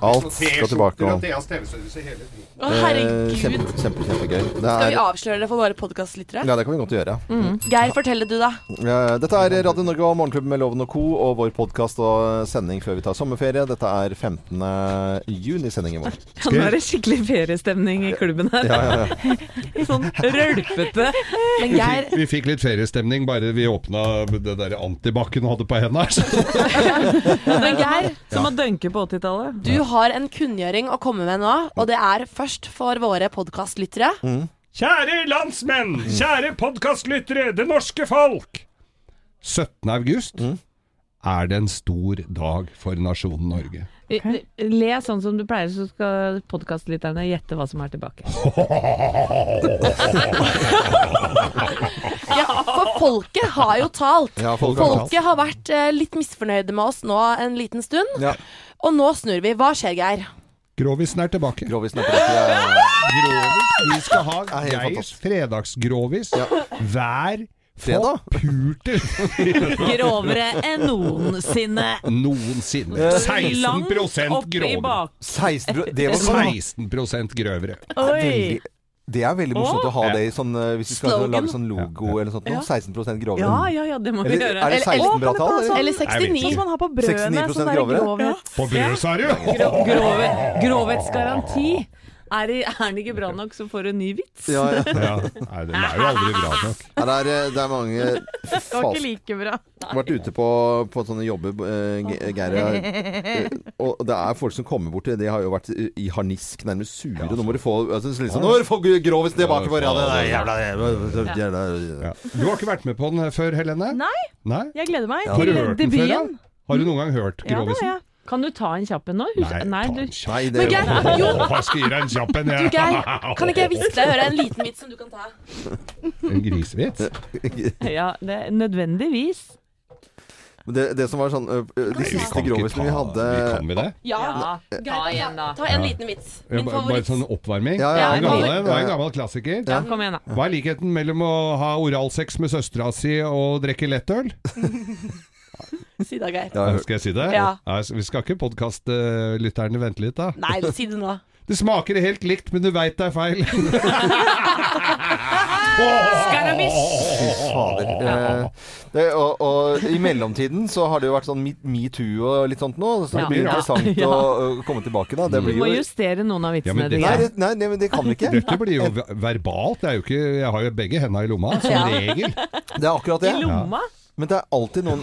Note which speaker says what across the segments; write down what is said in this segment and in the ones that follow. Speaker 1: Alt skal tilbake. og-
Speaker 2: Theas TV-service i hele tiden.
Speaker 3: Å,
Speaker 1: Eh,
Speaker 3: herregud.
Speaker 1: Kjempe, kjempe, kjempegøy. Det
Speaker 3: Skal vi
Speaker 1: er,
Speaker 3: avsløre det for våre podkastlyttere?
Speaker 1: ja, det kan vi godt gjøre.
Speaker 3: Mm. Geir, fortell det du, da.
Speaker 1: Eh, Dette er Radio Norge og Morgenklubben med Loven og Co. og vår podkast og sending før vi tar sommerferie. Dette er 15. juni-sendingen vår.
Speaker 4: Ja, nå er det skikkelig feriestemning i klubben her. Sånn rølpete.
Speaker 3: Men Geir,
Speaker 2: Vi fikk litt feriestemning bare vi åpna det der antibac-en hun hadde på hendene. her.
Speaker 3: men Geir
Speaker 4: Som å dunke på 80-tallet.
Speaker 3: du har en kunngjøring å komme med nå. Og det er først for våre podkastlyttere.
Speaker 1: Mm.
Speaker 2: Kjære landsmenn, kjære podkastlyttere, det norske folk. 17. august
Speaker 1: Mm.
Speaker 2: er det en stor dag for nasjonen Norge.
Speaker 4: Le sånn som du pleier, så skal podkastlytterne gjette hva som er tilbake.
Speaker 3: Ja, for folket har jo talt.
Speaker 1: Ja, folk har talt.
Speaker 3: Folket har vært eh, litt misfornøyde med oss nå en liten stund.
Speaker 1: Ja.
Speaker 3: Og nå snur vi. Hva skjer, Geir?
Speaker 2: Grovisen er tilbake.
Speaker 1: Grovisen er på rett.
Speaker 2: Grovis. Vi skal ha
Speaker 1: er helt
Speaker 2: Geirs
Speaker 1: fantastisk.
Speaker 2: fredagsgrovis hver
Speaker 1: Fredag?
Speaker 2: forpurte
Speaker 4: Grovere enn noensinne.
Speaker 2: noensinne. 16 grovere.
Speaker 4: bak.
Speaker 1: 16 bro- det, var, sånn
Speaker 2: 16 grøvere.
Speaker 4: Oi.
Speaker 1: veldig, det er veldig morsomt å ha det i sånn eh, Hvis vi skal
Speaker 3: Slogan.
Speaker 1: lage sånn logo eller noe sånt. noe, 16 grovere.
Speaker 4: Ja, ja, ja, det må vi
Speaker 1: Eller,
Speaker 4: gjøre.
Speaker 1: er det
Speaker 3: Eller-
Speaker 1: 16 bra
Speaker 3: eller-
Speaker 1: tall? eller?
Speaker 3: Eller
Speaker 2: Nei, jeg
Speaker 3: 69?
Speaker 2: vet
Speaker 5: sånn man har på brødene.
Speaker 1: 69%
Speaker 5: Sånn der
Speaker 1: grovere.
Speaker 5: grovhet.
Speaker 2: På Brødsarud!
Speaker 4: Gro grove, grovhetsgaranti. Er, det- er den ikke bra nok, så får du en ny vits.
Speaker 1: Ja, ja.
Speaker 2: Ja. Nei, den er jo aldri bra nok.
Speaker 1: Ja, det, er, eh, det er mange Fy
Speaker 5: Det var
Speaker 1: faen.
Speaker 5: ikke like bra.
Speaker 1: vært ute på, på sånne jobber, eh, Ge- Geir. eh, Og det er folk som kommer bort til De har jo vært i i harnisk, nærmest sure. Nå må du få altså, så liksom, Nå må du få grovis tilbake for ja, det der jævla, jævla, jævla.
Speaker 2: Ja. Du har ikke vært med på den eh, før, Helene?
Speaker 5: Nei,
Speaker 2: Nei?
Speaker 5: jeg gleder meg
Speaker 2: Har du
Speaker 5: til
Speaker 2: hørt den før, da?
Speaker 5: debuten.
Speaker 2: Har du noen gang hørt
Speaker 5: Ja, det har
Speaker 2: Grovisen?
Speaker 5: jeg.
Speaker 4: Kan du ta en kjapp en nå? Hus- Nei,
Speaker 2: ta
Speaker 4: du,
Speaker 2: en kjapp.
Speaker 1: Nei, det
Speaker 3: Men Geir, jo,
Speaker 2: Åh, Jeg skal gi deg en kjapp en,
Speaker 3: du, Geir.
Speaker 2: jeg.
Speaker 3: Kan ikke jeg hviske deg i øret en liten vits som du kan ta?
Speaker 2: En
Speaker 1: Eh,
Speaker 2: grisevits?
Speaker 4: ja, det er nødvendigvis.
Speaker 1: det, det som var sånn eh, De
Speaker 2: Vi
Speaker 1: siste
Speaker 2: kan ikke ta
Speaker 1: grovisene vi hadde
Speaker 2: Vi kan vi det?
Speaker 3: Ja.
Speaker 4: ta igjen da.
Speaker 3: Ta en liten vits.
Speaker 2: Ja,
Speaker 3: Min
Speaker 2: ba- Bare
Speaker 3: favoritt.
Speaker 2: sånn oppvarming?
Speaker 1: Ja,
Speaker 2: Det
Speaker 1: ja,
Speaker 2: er en gammel-
Speaker 1: ja, ja.
Speaker 2: det er en gammel klassiker.
Speaker 4: Ja, kom igjen da.
Speaker 2: Hva er likheten mellom å ha oralsex med søstera si og drikke lettøl?
Speaker 3: Si det, Geir.
Speaker 1: Ja, jeg hørte-
Speaker 2: Skal jeg si det?
Speaker 3: Ja.
Speaker 2: Nei, så vi skal ikke podkastlytterne vente litt, da?
Speaker 3: Nei, si det nå.
Speaker 2: Det smaker helt likt, men du veit det er feil.
Speaker 1: Fy fader. Eh, Det, og, og i mellomtiden så har det jo vært sånn me- metoo og litt sånt nå, så det
Speaker 4: Ja.
Speaker 1: blir
Speaker 2: Ja.
Speaker 1: interessant
Speaker 4: Ja.
Speaker 1: å å komme tilbake da. Det
Speaker 4: Du
Speaker 1: blir
Speaker 4: må
Speaker 1: jo
Speaker 4: justere noen av
Speaker 2: Ja,
Speaker 4: vitsene
Speaker 2: men det-
Speaker 4: dine.
Speaker 1: Nei, det, nei, nei, men det kan vi ikke.
Speaker 2: Dette blir jo ve- verbalt. Det er jo ikke, jeg har jo begge henda i lomma, som
Speaker 3: Ja.
Speaker 2: regel.
Speaker 1: Det er akkurat det.
Speaker 4: I lomma?
Speaker 1: Men det er alltid noen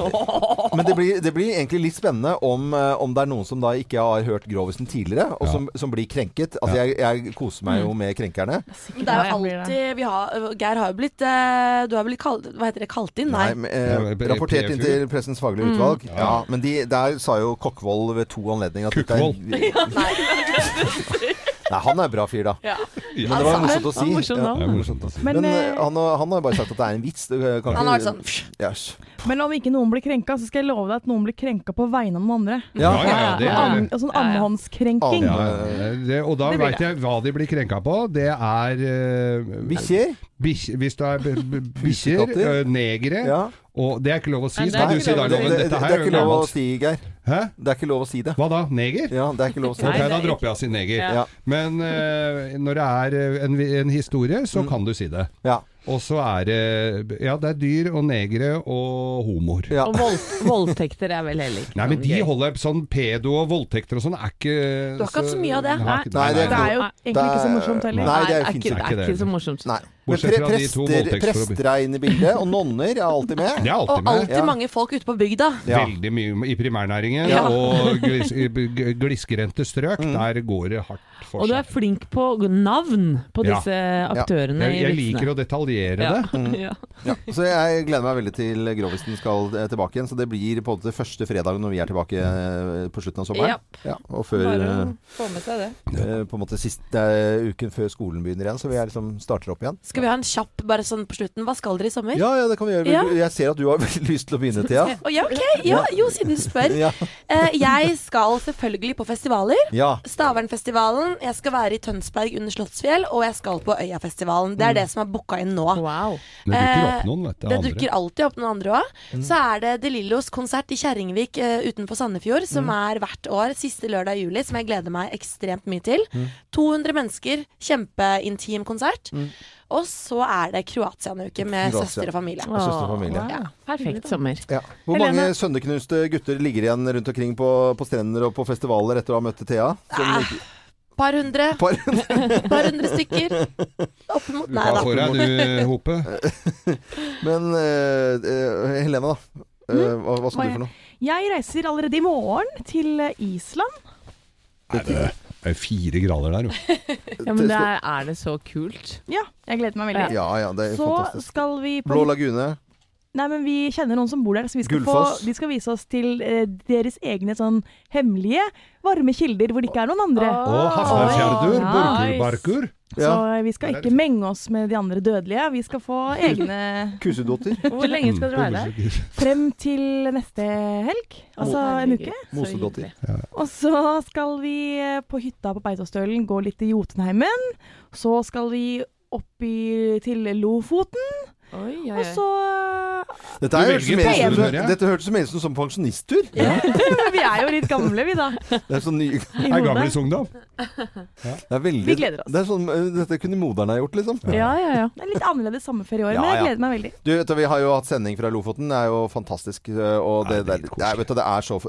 Speaker 1: Men det blir, det blir egentlig litt spennende om, eh, om det er noen som da ikke har hørt Grovisen tidligere, og som, som blir krenket. Altså, jeg, jeg koser meg jo med krenkerne.
Speaker 3: Men det er jo
Speaker 4: Ja, jeg blir
Speaker 3: alltid vi har, øh, Geir har jo blitt eh, Du har blitt kalt Hva heter det? Kalt inn? Nei.
Speaker 1: men, eh,
Speaker 2: Ja, p-
Speaker 1: rapportert inn til Pressens faglige utvalg. Ja. men de, der sa jo Kokkvold ved to anledninger at dette er- Nei, han er en bra fyr, da.
Speaker 3: Ja.
Speaker 1: Men det var morsomt å si.
Speaker 4: Han er morsom
Speaker 1: Ja.
Speaker 4: navn.
Speaker 2: Det er morsomt å si.
Speaker 1: Men,
Speaker 5: Men,
Speaker 1: eh,
Speaker 5: eh,
Speaker 1: han, har- han har jo bare sagt at det er en vits. Det kan
Speaker 3: Han har vært
Speaker 1: ikke-
Speaker 3: sånn psh.
Speaker 1: Yes.
Speaker 5: men om ikke noen blir krenka, så skal jeg love deg at noen blir krenka på vegne av noen andre.
Speaker 2: Ja, ja, ja, det
Speaker 5: Am,
Speaker 2: er
Speaker 5: og sånn
Speaker 4: Ja, ja.
Speaker 1: Am-
Speaker 5: ammehåndskrenking.
Speaker 2: ja, det, og da
Speaker 5: Det blir
Speaker 2: veit jeg hva de blir krenka på. Det er eh,
Speaker 1: Bikkjer?
Speaker 2: bikkj- Hvis du er b- b- bikkjer,
Speaker 1: Bikkjekatter.
Speaker 2: eh, negere
Speaker 1: Ja.
Speaker 2: Og det er ikke lov å si,
Speaker 4: Nei, det er
Speaker 2: skal du
Speaker 4: ikke
Speaker 2: si
Speaker 4: lov
Speaker 2: da,
Speaker 4: å si.
Speaker 1: det,
Speaker 2: Loven.
Speaker 1: det,
Speaker 2: Dette
Speaker 1: det
Speaker 2: her
Speaker 1: er ikke lov å
Speaker 2: gammelt.
Speaker 1: si, Geir.
Speaker 2: Hæ?
Speaker 1: Det er ikke lov å si det.
Speaker 2: Hva da? Neger?
Speaker 1: Ja, det er ikke lov å si
Speaker 4: Nei,
Speaker 2: Ok,
Speaker 1: det.
Speaker 4: det er
Speaker 2: da
Speaker 4: ikke-
Speaker 2: dropper jeg å si neger.
Speaker 1: Ja.
Speaker 2: Men eh, når det er eh, en, vi- en historie, så kan du si det.
Speaker 1: Ja.
Speaker 2: Og så er det Ja, det er dyr og negere og homoer.
Speaker 1: Ja.
Speaker 4: Og vold, voldtekter er vel heller ikke
Speaker 2: Nei, men
Speaker 4: noe
Speaker 2: de
Speaker 4: gøy.
Speaker 2: holder sånn pedo og voldtekter og sånn er ikke
Speaker 3: Du har ikke hatt så mye av det.
Speaker 2: Har ikke-
Speaker 1: Nei, det er
Speaker 5: Det er jo
Speaker 4: Nei.
Speaker 5: egentlig ikke så
Speaker 1: Det er-
Speaker 5: morsomt heller.
Speaker 1: Nei, det er jo
Speaker 4: ikke,
Speaker 1: fint.
Speaker 4: det er ikke så morsomt.
Speaker 1: Nei. Men
Speaker 2: Bortsett
Speaker 1: pre
Speaker 2: fra de to
Speaker 1: prester,
Speaker 2: voldtektsforbud.
Speaker 1: prester er inne i bildet, og nonner er alltid med.
Speaker 2: Det er alltid
Speaker 3: Og
Speaker 2: med.
Speaker 3: alltid
Speaker 1: Ja.
Speaker 3: mange folk ute på bygda.
Speaker 1: Ja.
Speaker 2: Veldig mye i primærnæringen
Speaker 3: Ja.
Speaker 2: og glis, i b- g- gliskerente strøk. Der går det hardt for
Speaker 4: Og du er
Speaker 2: seg.
Speaker 4: flink på navn på
Speaker 2: Ja.
Speaker 4: disse aktørene
Speaker 2: Jeg, jeg liker å detaljere det.
Speaker 4: Ja.
Speaker 1: Ja. Så jeg gleder meg veldig til Grovisen skal eh, tilbake igjen. Så det blir på en måte første fredag når vi er tilbake eh, på slutten av sommeren. Ja, og før eh,
Speaker 4: få med seg det.
Speaker 1: eh, på en måte siste eh, uken før skolen begynner igjen, så vi er liksom starter opp igjen.
Speaker 3: Skal vi ha en kjapp bare sånn på slutten? Hva skal dere i sommer?
Speaker 1: Ja, ja, det kan vi gjøre.
Speaker 3: Ja.
Speaker 1: Jeg ser at du har veldig lyst til å begynne, Thea.
Speaker 3: Å, ja, ok. Ja, jo, siden du spør.
Speaker 1: Ja.
Speaker 3: Eh, jeg skal selvfølgelig på festivaler.
Speaker 1: ja.
Speaker 3: Stavernfestivalen, jeg skal være i Tønsberg under Slottsfjell, og jeg skal på Øyafestivalen. Det er det som er booka inn nå.
Speaker 4: Wow.
Speaker 2: Det dukker opp
Speaker 3: Eh,
Speaker 2: noen, vet du.
Speaker 3: Det
Speaker 2: andre.
Speaker 3: dukker alltid opp noen andre òg. Så er det De Lillos konsert i Kjerringvik eh, utenfor Sandefjord, som er hvert år siste lørdag i juli, som jeg gleder meg ekstremt mye til. 200 mennesker, kjempeintim konsert. Og så er det Kroatia-uke med
Speaker 1: Kroatia.
Speaker 3: søster og familie.
Speaker 1: Og søster og familie.
Speaker 4: Wow. Perfekt sommer.
Speaker 1: Ja. Hvor
Speaker 5: Helene?
Speaker 1: mange sønderknuste gutter ligger igjen rundt omkring på, på strender og på festivaler etter å ha møtt Thea? Som
Speaker 3: Ah.
Speaker 1: ikke,
Speaker 3: Par hundre,
Speaker 1: par,
Speaker 3: par hundre stykker. Oppimot Nei
Speaker 2: Hva
Speaker 3: da.
Speaker 2: får jeg du, Hope?
Speaker 1: men eh, eh, Helene, da. Eh, hva, hva skal
Speaker 5: Hva
Speaker 1: du
Speaker 5: er-
Speaker 1: for noe?
Speaker 5: Jeg reiser allerede i morgen til eh, Island.
Speaker 2: Er det det er fire grader der, jo.
Speaker 4: Ja, men det er, er det så kult?
Speaker 5: Ja, jeg gleder meg veldig.
Speaker 1: Ja ja, det er
Speaker 5: Så
Speaker 1: fantastisk.
Speaker 5: skal vi på
Speaker 1: Blå lagune.
Speaker 5: Nei, men vi kjenner noen som bor der, så vi skal, få,
Speaker 1: Gullfoss.
Speaker 5: de skal vise oss til eh, deres egne sånn hemmelige varme kilder hvor det ikke er noen andre.
Speaker 4: Åh.
Speaker 2: Og Hafnarfjærdur,
Speaker 4: Nice.
Speaker 2: Borgerbarkur.
Speaker 5: Så
Speaker 1: Ja.
Speaker 5: eh, vi skal ikke menge oss med de andre dødelige. Vi skal få egne
Speaker 1: Kusedotter.
Speaker 4: Hvor lenge skal
Speaker 2: Mm,
Speaker 4: dere være der?
Speaker 5: frem til neste helg, altså en uke.
Speaker 4: Herregud, så
Speaker 1: Mosedotter.
Speaker 4: hyggelig.
Speaker 5: Og så skal vi eh, på hytta på Beitostølen gå litt i Jotunheimen. Så skal vi opp i, til Lofoten,
Speaker 4: Oi, oi,
Speaker 5: og
Speaker 4: oi.
Speaker 5: så eh,
Speaker 1: Dette, er,
Speaker 2: Du
Speaker 1: hørtes
Speaker 2: velger
Speaker 1: mer ut som,
Speaker 2: pene, hører jeg.
Speaker 1: dette hørtes mer ut som pensjonisttur.
Speaker 5: Vi er jo litt gamle, vi da.
Speaker 1: Det er sånn ny,
Speaker 5: I
Speaker 2: Er
Speaker 5: hodet.
Speaker 2: gammel i Sogndal.
Speaker 1: det er veldig,
Speaker 5: Vi gleder oss.
Speaker 1: Det er sånn, eh, dette kunne moderne ha gjort, liksom.
Speaker 5: Ja, ja, ja. Det er litt annerledes sommerferie i år,
Speaker 1: Ja,
Speaker 5: men jeg
Speaker 1: ja.
Speaker 5: gleder meg veldig.
Speaker 1: Du, vet du, Vi har jo hatt sending fra Lofoten. Det er jo fantastisk. eh, Og det,
Speaker 2: Det er
Speaker 1: det, er, det, er, vet du, det er så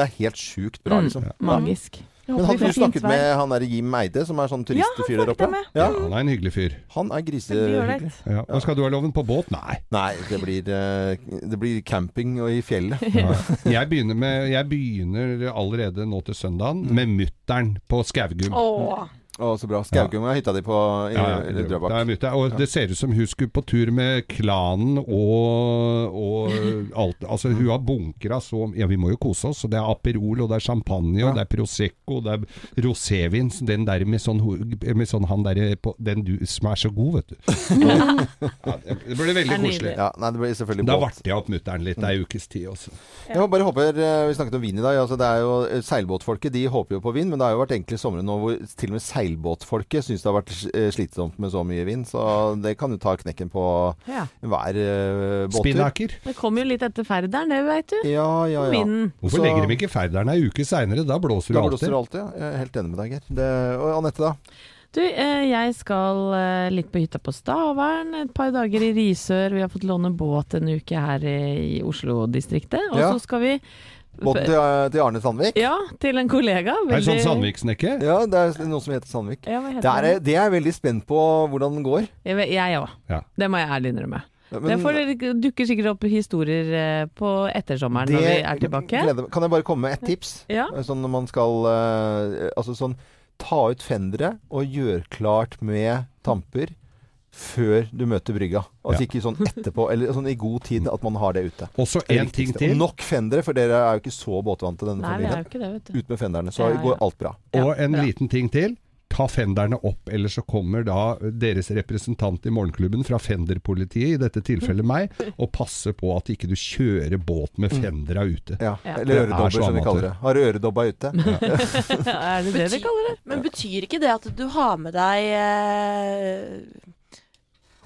Speaker 1: Det er helt sjukt bra,
Speaker 4: Mm.
Speaker 1: liksom.
Speaker 4: Magisk.
Speaker 5: Jeg
Speaker 1: Men
Speaker 5: håper
Speaker 1: hadde
Speaker 5: vi
Speaker 1: du
Speaker 5: får fint
Speaker 1: snakket
Speaker 5: vær.
Speaker 1: med han der Jim Eide, som er sånn turistfyr der
Speaker 5: snakket
Speaker 1: oppe?
Speaker 5: jeg med.
Speaker 1: Ja,
Speaker 2: Han er en hyggelig fyr.
Speaker 1: han er
Speaker 5: Veldig ålreit.
Speaker 1: grisehyggelig.
Speaker 2: Ja. Hva skal du ha, Loven? På båt? Nei.
Speaker 1: Nei, det blir, eh, det blir camping og i fjellet.
Speaker 2: Jeg begynner, med, jeg begynner allerede nå til søndagen med mutter'n på Skaugum.
Speaker 3: Åh.
Speaker 1: Å, så bra. Skaugum er hytta di på i,
Speaker 2: Ja, ja,
Speaker 1: i Drøbak.
Speaker 2: det er mutter. Og det ser ut som hun skulle på tur med klanen og, og alt. Altså, hun har bunkra så Ja, vi må jo kose oss. Og det er Aperol, og det er champagne, og det er Prosecco, og det er rosévin. så Den der med sånn, ho- med sånn han derre på- Den du som er så god, vet du. Ja, det blir veldig
Speaker 4: Det er
Speaker 2: koselig.
Speaker 1: Ja, nei, det blir selvfølgelig
Speaker 2: Da
Speaker 1: båt.
Speaker 2: varte jeg opp mutter'n litt ei ukes tid også.
Speaker 1: Jeg må bare håper, eh, Vi snakket om vind i dag. Altså, det er jo, eh, seilbåtfolket de håper jo på vind, men det har jo vært enkle somre nå hvor til og med seilbåtfolket syns det har vært eh, slitsomt med så mye vind. Så det kan jo ta knekken på
Speaker 4: Ja.
Speaker 1: hver eh, båttur.
Speaker 2: Spinnaker.
Speaker 4: Det kommer jo litt etter ferderen, det veit du.
Speaker 1: Ja, ja, ja.
Speaker 4: Vinden.
Speaker 2: Hvorfor
Speaker 1: Så-
Speaker 2: legger de ikke ferderen ei uke seinere? Da blåser
Speaker 1: Da
Speaker 2: det
Speaker 1: blåser
Speaker 2: alltid.
Speaker 1: det alltid. ja. Jeg er helt enig med deg, Geir. Det, og Anette, da?
Speaker 4: Du, eh, jeg skal eh, litt på hytta på Stavern, et par dager i Risør. Vi har fått låne båt en uke her i i Oslo-distrikten. Og
Speaker 1: Ja.
Speaker 4: så skal vi
Speaker 1: Båten til, eh, til Arne Sandvik?
Speaker 4: Ja, til en kollega.
Speaker 2: Er det sånn
Speaker 4: Veldig-
Speaker 2: Sandviksnekke?
Speaker 1: Ja, det er noen som heter Sandvik.
Speaker 4: Ja, hva heter
Speaker 1: Det er,
Speaker 4: den?
Speaker 1: det er jeg veldig spent på hvordan den går.
Speaker 4: Jeg vet- Jeg òg.
Speaker 2: Ja.
Speaker 4: Det må jeg ærlig innrømme.
Speaker 1: Men
Speaker 4: det får- dukker sikkert opp historier eh, på ettersommeren når vi
Speaker 1: det-
Speaker 4: er tilbake.
Speaker 1: gleder meg. Kan jeg bare komme med et tips?
Speaker 4: Ja.
Speaker 1: Sånn når man skal eh, Altså sånn Ta ut fendere og gjør klart med tamper før du møter brygga. Altså
Speaker 2: Ja.
Speaker 1: ikke sånn etterpå, eller sånn i god tid at man har det ute.
Speaker 2: Også
Speaker 1: Det er
Speaker 2: en ting
Speaker 1: viktigste.
Speaker 2: til.
Speaker 1: Og nok fendere, for dere er jo ikke så båtvante, denne
Speaker 4: Nei, vi er jo
Speaker 1: familien.
Speaker 4: ikke det, vet du.
Speaker 1: Ut med fenderne, så
Speaker 4: Ja, ja.
Speaker 1: går alt bra.
Speaker 2: Og
Speaker 4: Ja,
Speaker 2: en
Speaker 4: bra.
Speaker 2: liten ting til. Ta fenderne opp, eller så kommer da deres representant i morgenklubben fra fenderpolitiet, i dette tilfellet meg, og passer på at ikke du kjører båt med fendera ute.
Speaker 1: Ja.
Speaker 4: Ja.
Speaker 1: Eller
Speaker 2: Det er så
Speaker 1: øredobber, som vi kaller det. Har øredobba ute.
Speaker 4: er det det de kaller det?
Speaker 3: Men betyr ikke det at du har med deg eh,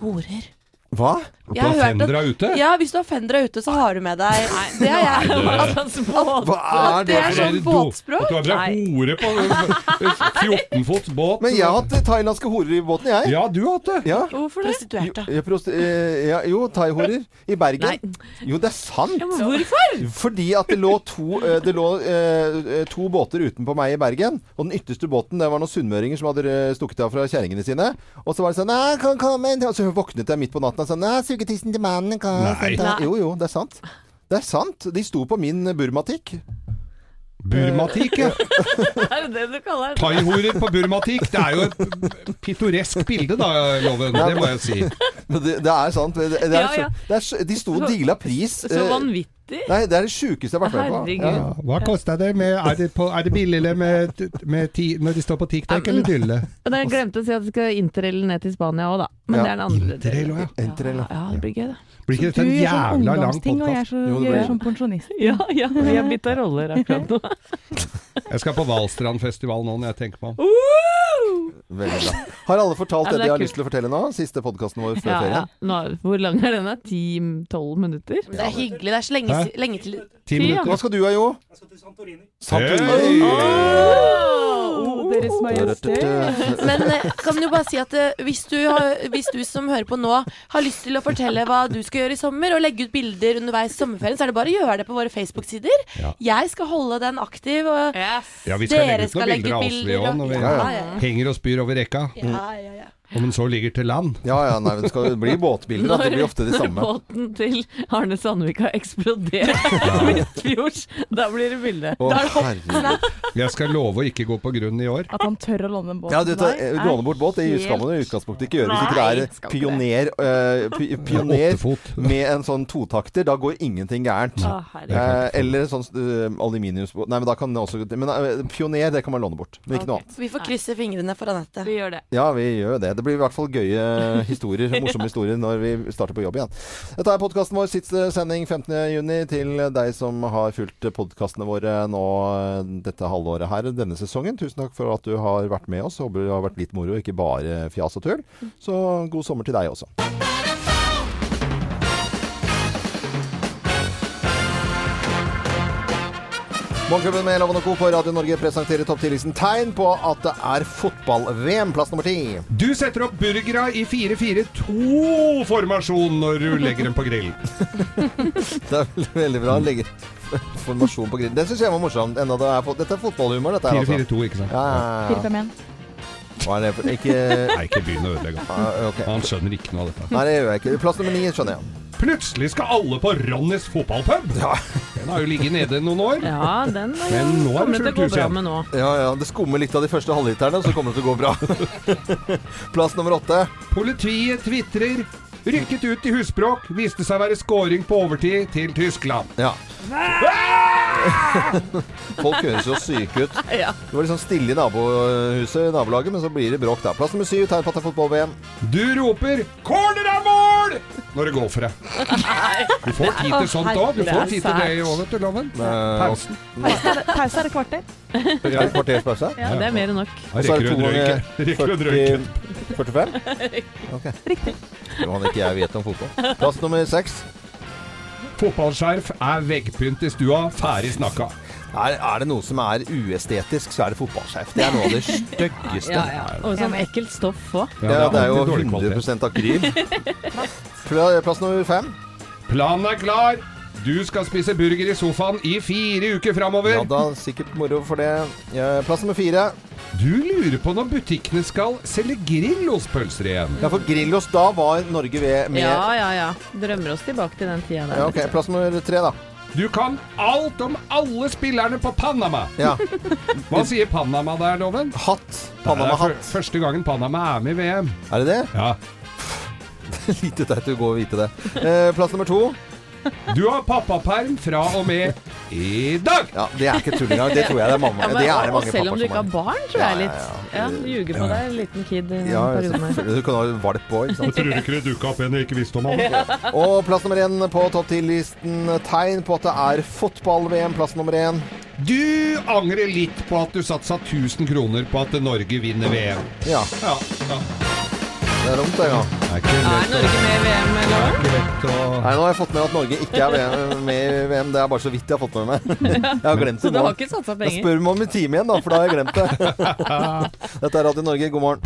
Speaker 3: horer?
Speaker 1: Hva?
Speaker 2: Og
Speaker 3: Jeg har
Speaker 2: ta
Speaker 3: hørt at-
Speaker 2: fendera ute?
Speaker 3: Ja, hvis du har fendera ute, så har du med deg Nei, det har jeg.
Speaker 4: Altså,
Speaker 1: Hva er
Speaker 3: Det
Speaker 1: det?
Speaker 3: er sånn
Speaker 2: Altså, du-
Speaker 3: båtspråk.
Speaker 2: At du har med
Speaker 4: Nei.
Speaker 2: deg hore på 14 fots båt?
Speaker 1: Men jeg har hatt thailandske horer i båten, jeg.
Speaker 2: Ja, du har hatt det!
Speaker 1: Ja.
Speaker 4: Hvorfor det?
Speaker 3: Prostituerte.
Speaker 1: Jo, prost- eh, ja, jo thaihorer i Bergen.
Speaker 4: Nei.
Speaker 1: Jo, det er sant!
Speaker 4: Ja, men hvorfor?
Speaker 1: Fordi at det lå, to, eh, det lå eh, to båter utenpå meg i Bergen. Og den ytterste båten, det var noen sunnmøringer som hadde eh, stukket av fra kjerringene sine. Og så var det sånn Nei, kan komme inn. Og så våknet jeg midt på natten og sa Nei, sugetissen til mannen kan
Speaker 2: Nei.
Speaker 1: sette-» Jo, jo, det er sant. Det er sant. De sto på min eh, burmatikk.
Speaker 2: Burmatikk, ja.
Speaker 4: Er det det du kaller det?
Speaker 2: Thaihorer på burmatikk. Det er jo et pittoresk bilde, da, Loven. Det må jeg si.
Speaker 1: Men det, det er sant. men Det, det er,
Speaker 4: Ja, ja.
Speaker 1: så- Det er, så- de sto og deala pris.
Speaker 4: Så
Speaker 1: eh,
Speaker 4: vanvittig.
Speaker 1: Nei, det er det sjukeste jeg har vært med på.
Speaker 4: Herregud.
Speaker 1: Ja.
Speaker 2: Ja, hva kosta det? Med, er, det på, er det billigere med, med ti, når de står på TikTok eller Dylle?
Speaker 4: Men jeg glemte å si at jeg skal interrail ned til Spania òg, da. Men
Speaker 1: Ja.
Speaker 4: det er den andre
Speaker 2: Interrail også, ja.
Speaker 1: Interrail, ja.
Speaker 4: ja. Ja, det blir gøy, da.
Speaker 2: Blir ikke
Speaker 5: Du
Speaker 2: dette en
Speaker 5: gjør sånn
Speaker 2: jævla lang
Speaker 5: ungdomsting, og jeg
Speaker 2: podkast?
Speaker 5: er så-
Speaker 1: Jo, det
Speaker 5: jeg
Speaker 1: blir
Speaker 5: er
Speaker 1: det.
Speaker 5: sånn pensjonist.
Speaker 4: Ja, ja. Vi har bytta roller akkurat nå.
Speaker 2: Jeg skal på Valstrandfestival nå når jeg tenker meg om.
Speaker 1: Veldig bra. Har alle fortalt
Speaker 4: Ja,
Speaker 1: det de
Speaker 4: men det er
Speaker 1: har
Speaker 4: kult.
Speaker 1: lyst til å fortelle nå? Siste podkasten vår før
Speaker 4: Ja, ja.
Speaker 1: ferien?
Speaker 4: Nå, hvor lang er den? da? 10-12 minutter?
Speaker 3: Det er hyggelig. Det er så lenge,
Speaker 2: Hæ?
Speaker 3: si- lenge til
Speaker 2: Ti
Speaker 4: Fy,
Speaker 2: minutter.
Speaker 4: ja.
Speaker 1: Hva skal du ha, Jo?
Speaker 2: Santorini.
Speaker 5: Oh, Deres Majestet.
Speaker 3: Men eh, kan du bare si at eh, hvis du, har, hvis du som hører på nå, har lyst til å fortelle hva du skal gjøre i sommer, og legge ut bilder underveis i sommerferien, så er det bare å gjøre det på våre Facebook-sider.
Speaker 2: Ja.
Speaker 3: Jeg skal holde den aktiv. Og
Speaker 2: Ja, vi skal legge
Speaker 3: Dere
Speaker 2: ut
Speaker 3: skal
Speaker 2: noen bilder
Speaker 3: legge
Speaker 2: av oss, vi
Speaker 3: bilder,
Speaker 2: òg, når vi
Speaker 3: ja, ja, ja.
Speaker 2: henger og spyr over rekka. Om den så ligger til land.
Speaker 1: Ja ja, nei, men det skal bli båtbilder. Da. Det blir ofte de
Speaker 4: når
Speaker 1: samme.
Speaker 4: båten til Arne Sandvik har eksplodert midtfjords, da blir det bilde.
Speaker 1: Å,
Speaker 4: Da er det hopp.
Speaker 1: herregud.
Speaker 2: Jeg skal love å ikke gå på grunn i år.
Speaker 5: At han tør å låne en båt.
Speaker 1: Ja, du, ta, eh,
Speaker 5: Nei.
Speaker 1: låne bort båt, det skal man jo i utgangspunktet ikke gjøre. Hvis ikke det er pioner, eh, pi- pioner
Speaker 2: Åttefot.
Speaker 1: med en sånn totakter, da går ingenting gærent.
Speaker 4: Å, herregud.
Speaker 1: Eh, eller sånn eh, aluminiumsbåt Nei, men da kan det også Men eh, pioner, det kan man låne bort. Men ikke noe
Speaker 4: Ok.
Speaker 1: annet.
Speaker 3: Vi får krysse fingrene for Anette.
Speaker 4: Vi gjør det.
Speaker 1: Ja, vi gjør jo det. Det blir i hvert fall gøye historier, morsomme historier, når vi starter på jobb igjen. Dette er podkasten vår, siste sending 15.6 til deg som har fulgt podkastene våre nå eh, dette halvåret her, denne sesongen. Tusen takk for at du har vært med oss. Håper det har vært litt moro, ikke bare fjas og tull. Så god sommer til deg også. Morgenklubben med Loven og Co. på Radio Norge presenterer topptillitsen tegn på at det er fotball-VM, plass nummer ti.
Speaker 2: Du setter opp burgera i 4-4-2-formasjon når du legger dem på grillen.
Speaker 1: Det er veldig, veldig bra. Legge formasjon på grillen. Det syns jeg var morsomt. Enda det er, fot- dette er fotballhumor, dette her, altså.
Speaker 2: 4-4-2, ikke sant?
Speaker 1: Ja, ja, ja.
Speaker 5: 4-5-1.
Speaker 1: Hva er det for Ikke
Speaker 2: Nei, ikke begynn å ødelegge.
Speaker 1: Ah, Ok.
Speaker 2: Han skjønner ikke noe av dette.
Speaker 1: Nei, det gjør jeg ikke. Plass nummer ni, skjønner jeg.
Speaker 2: Plutselig skal alle på Ronnys fotballpub! Den har jo ligget nede noen år.
Speaker 4: Ja, den eh,
Speaker 2: Men nå er det
Speaker 4: kommer det til å
Speaker 2: fullt
Speaker 4: gå
Speaker 2: hus
Speaker 4: bra
Speaker 2: igjen.
Speaker 4: med nå.
Speaker 1: Ja, ja. Det skummer litt av de første halvliterne, så kommer det til å gå bra. Plass nummer åtte.
Speaker 2: Politiet tvitrer. Rykket ut i husbråk. Viste seg å være scoring på overtid til Tyskland.
Speaker 1: Ja. Folk høres jo syke ut.
Speaker 4: Ja.
Speaker 1: Det var litt sånn stille i nabohuset, i nabolaget, men så blir det bråk der. Plass nummer syv, tegn på at det er fotball-VM.
Speaker 2: Du roper 'corner er mål!' når det går for deg. Du får tid til sånt òg. Du får tid til det òg, vet du, Loven.
Speaker 1: Eh,
Speaker 2: Pausen.
Speaker 5: Pause er et kvarter.
Speaker 1: Er det kvarters pause?
Speaker 4: Ja, det er mer enn nok.
Speaker 2: Da rekker du en røyk. Rekker du en røyk.
Speaker 1: 45? Ok. Riktig. Johan, ikke jeg vet om fotball. Plass nummer seks.
Speaker 2: Fotballskjerf er veggpynt i stua. Ferdig snakka.
Speaker 1: Er, er det noe som er uestetisk, så er det fotballskjerf. Det er noe av det styggeste.
Speaker 4: Ja, ja. Og sånn ekkelt stoff òg.
Speaker 1: Ja, det er jo
Speaker 2: alltid dårlig kvalitet.
Speaker 1: 100 akryl. Pla- Plass nummer fem.
Speaker 2: Planen er klar. Du skal spise burger i sofaen i fire uker
Speaker 1: Ja
Speaker 2: framover.
Speaker 1: da, sikkert moro for det. Ja, Plass nummer fire.
Speaker 2: Du lurer på når butikkene skal selge grillostpølser igjen.
Speaker 1: Ja, for Grillos, da var Norge ved med
Speaker 4: Ja, ja, ja. Drømmer oss tilbake til den tida der.
Speaker 1: Ja, ok, Plass nummer tre, da.
Speaker 2: Du kan alt om alle spillerne på Panama.
Speaker 1: Ja.
Speaker 2: Hva sier Panama der, Loven?
Speaker 1: Hatt.
Speaker 2: Det er
Speaker 1: Panama-hatt.
Speaker 2: fyr- Første gangen Panama er med i VM.
Speaker 1: Er det det?
Speaker 2: Ja.
Speaker 1: Lite teit å gå og vite det. Eh, Plass nummer to.
Speaker 2: Du har pappaperm fra og med i dag!
Speaker 1: Ja, Det er ikke tull engang. Det tror jeg det er mamma.
Speaker 4: Ja, men,
Speaker 1: det er det
Speaker 4: og, og
Speaker 1: mange
Speaker 4: selv om du ikke
Speaker 1: pappaer som
Speaker 4: har barn, tror
Speaker 1: Ja,
Speaker 4: jeg
Speaker 1: ja,
Speaker 4: litt.
Speaker 1: ja.
Speaker 4: Ja, du ljuger på deg, liten kid i den
Speaker 1: Ja,
Speaker 4: perioden.
Speaker 1: selvfølgelig. Du kan ha valp på, ikke sant.
Speaker 2: Tror du ikke det dukka opp en jeg ikke visste om? Han?
Speaker 1: Og plass nummer én på topp 10-listen. Tegn på at det er fotball-VM. Plass nummer én.
Speaker 2: Du angrer litt på at du satsa 1000 kroner på at Norge vinner VM.
Speaker 1: Ja,
Speaker 2: Ja, ja.
Speaker 1: det er dumt, det, ja.
Speaker 2: Det er ikke
Speaker 4: Er
Speaker 2: lett,
Speaker 4: Norge med i VM, eller?
Speaker 2: ikke lett å
Speaker 1: Nei, nå har jeg fått med at Norge ikke er VM- med i VM. Det er bare så vidt jeg har fått med meg. Jeg har glemt
Speaker 4: Så
Speaker 1: det
Speaker 4: du
Speaker 1: nå.
Speaker 4: har ikke satsa
Speaker 1: Jeg
Speaker 4: penger?
Speaker 1: spør meg om en time igjen, da, for da har jeg glemt det. Dette er Radio Norge, god morgen.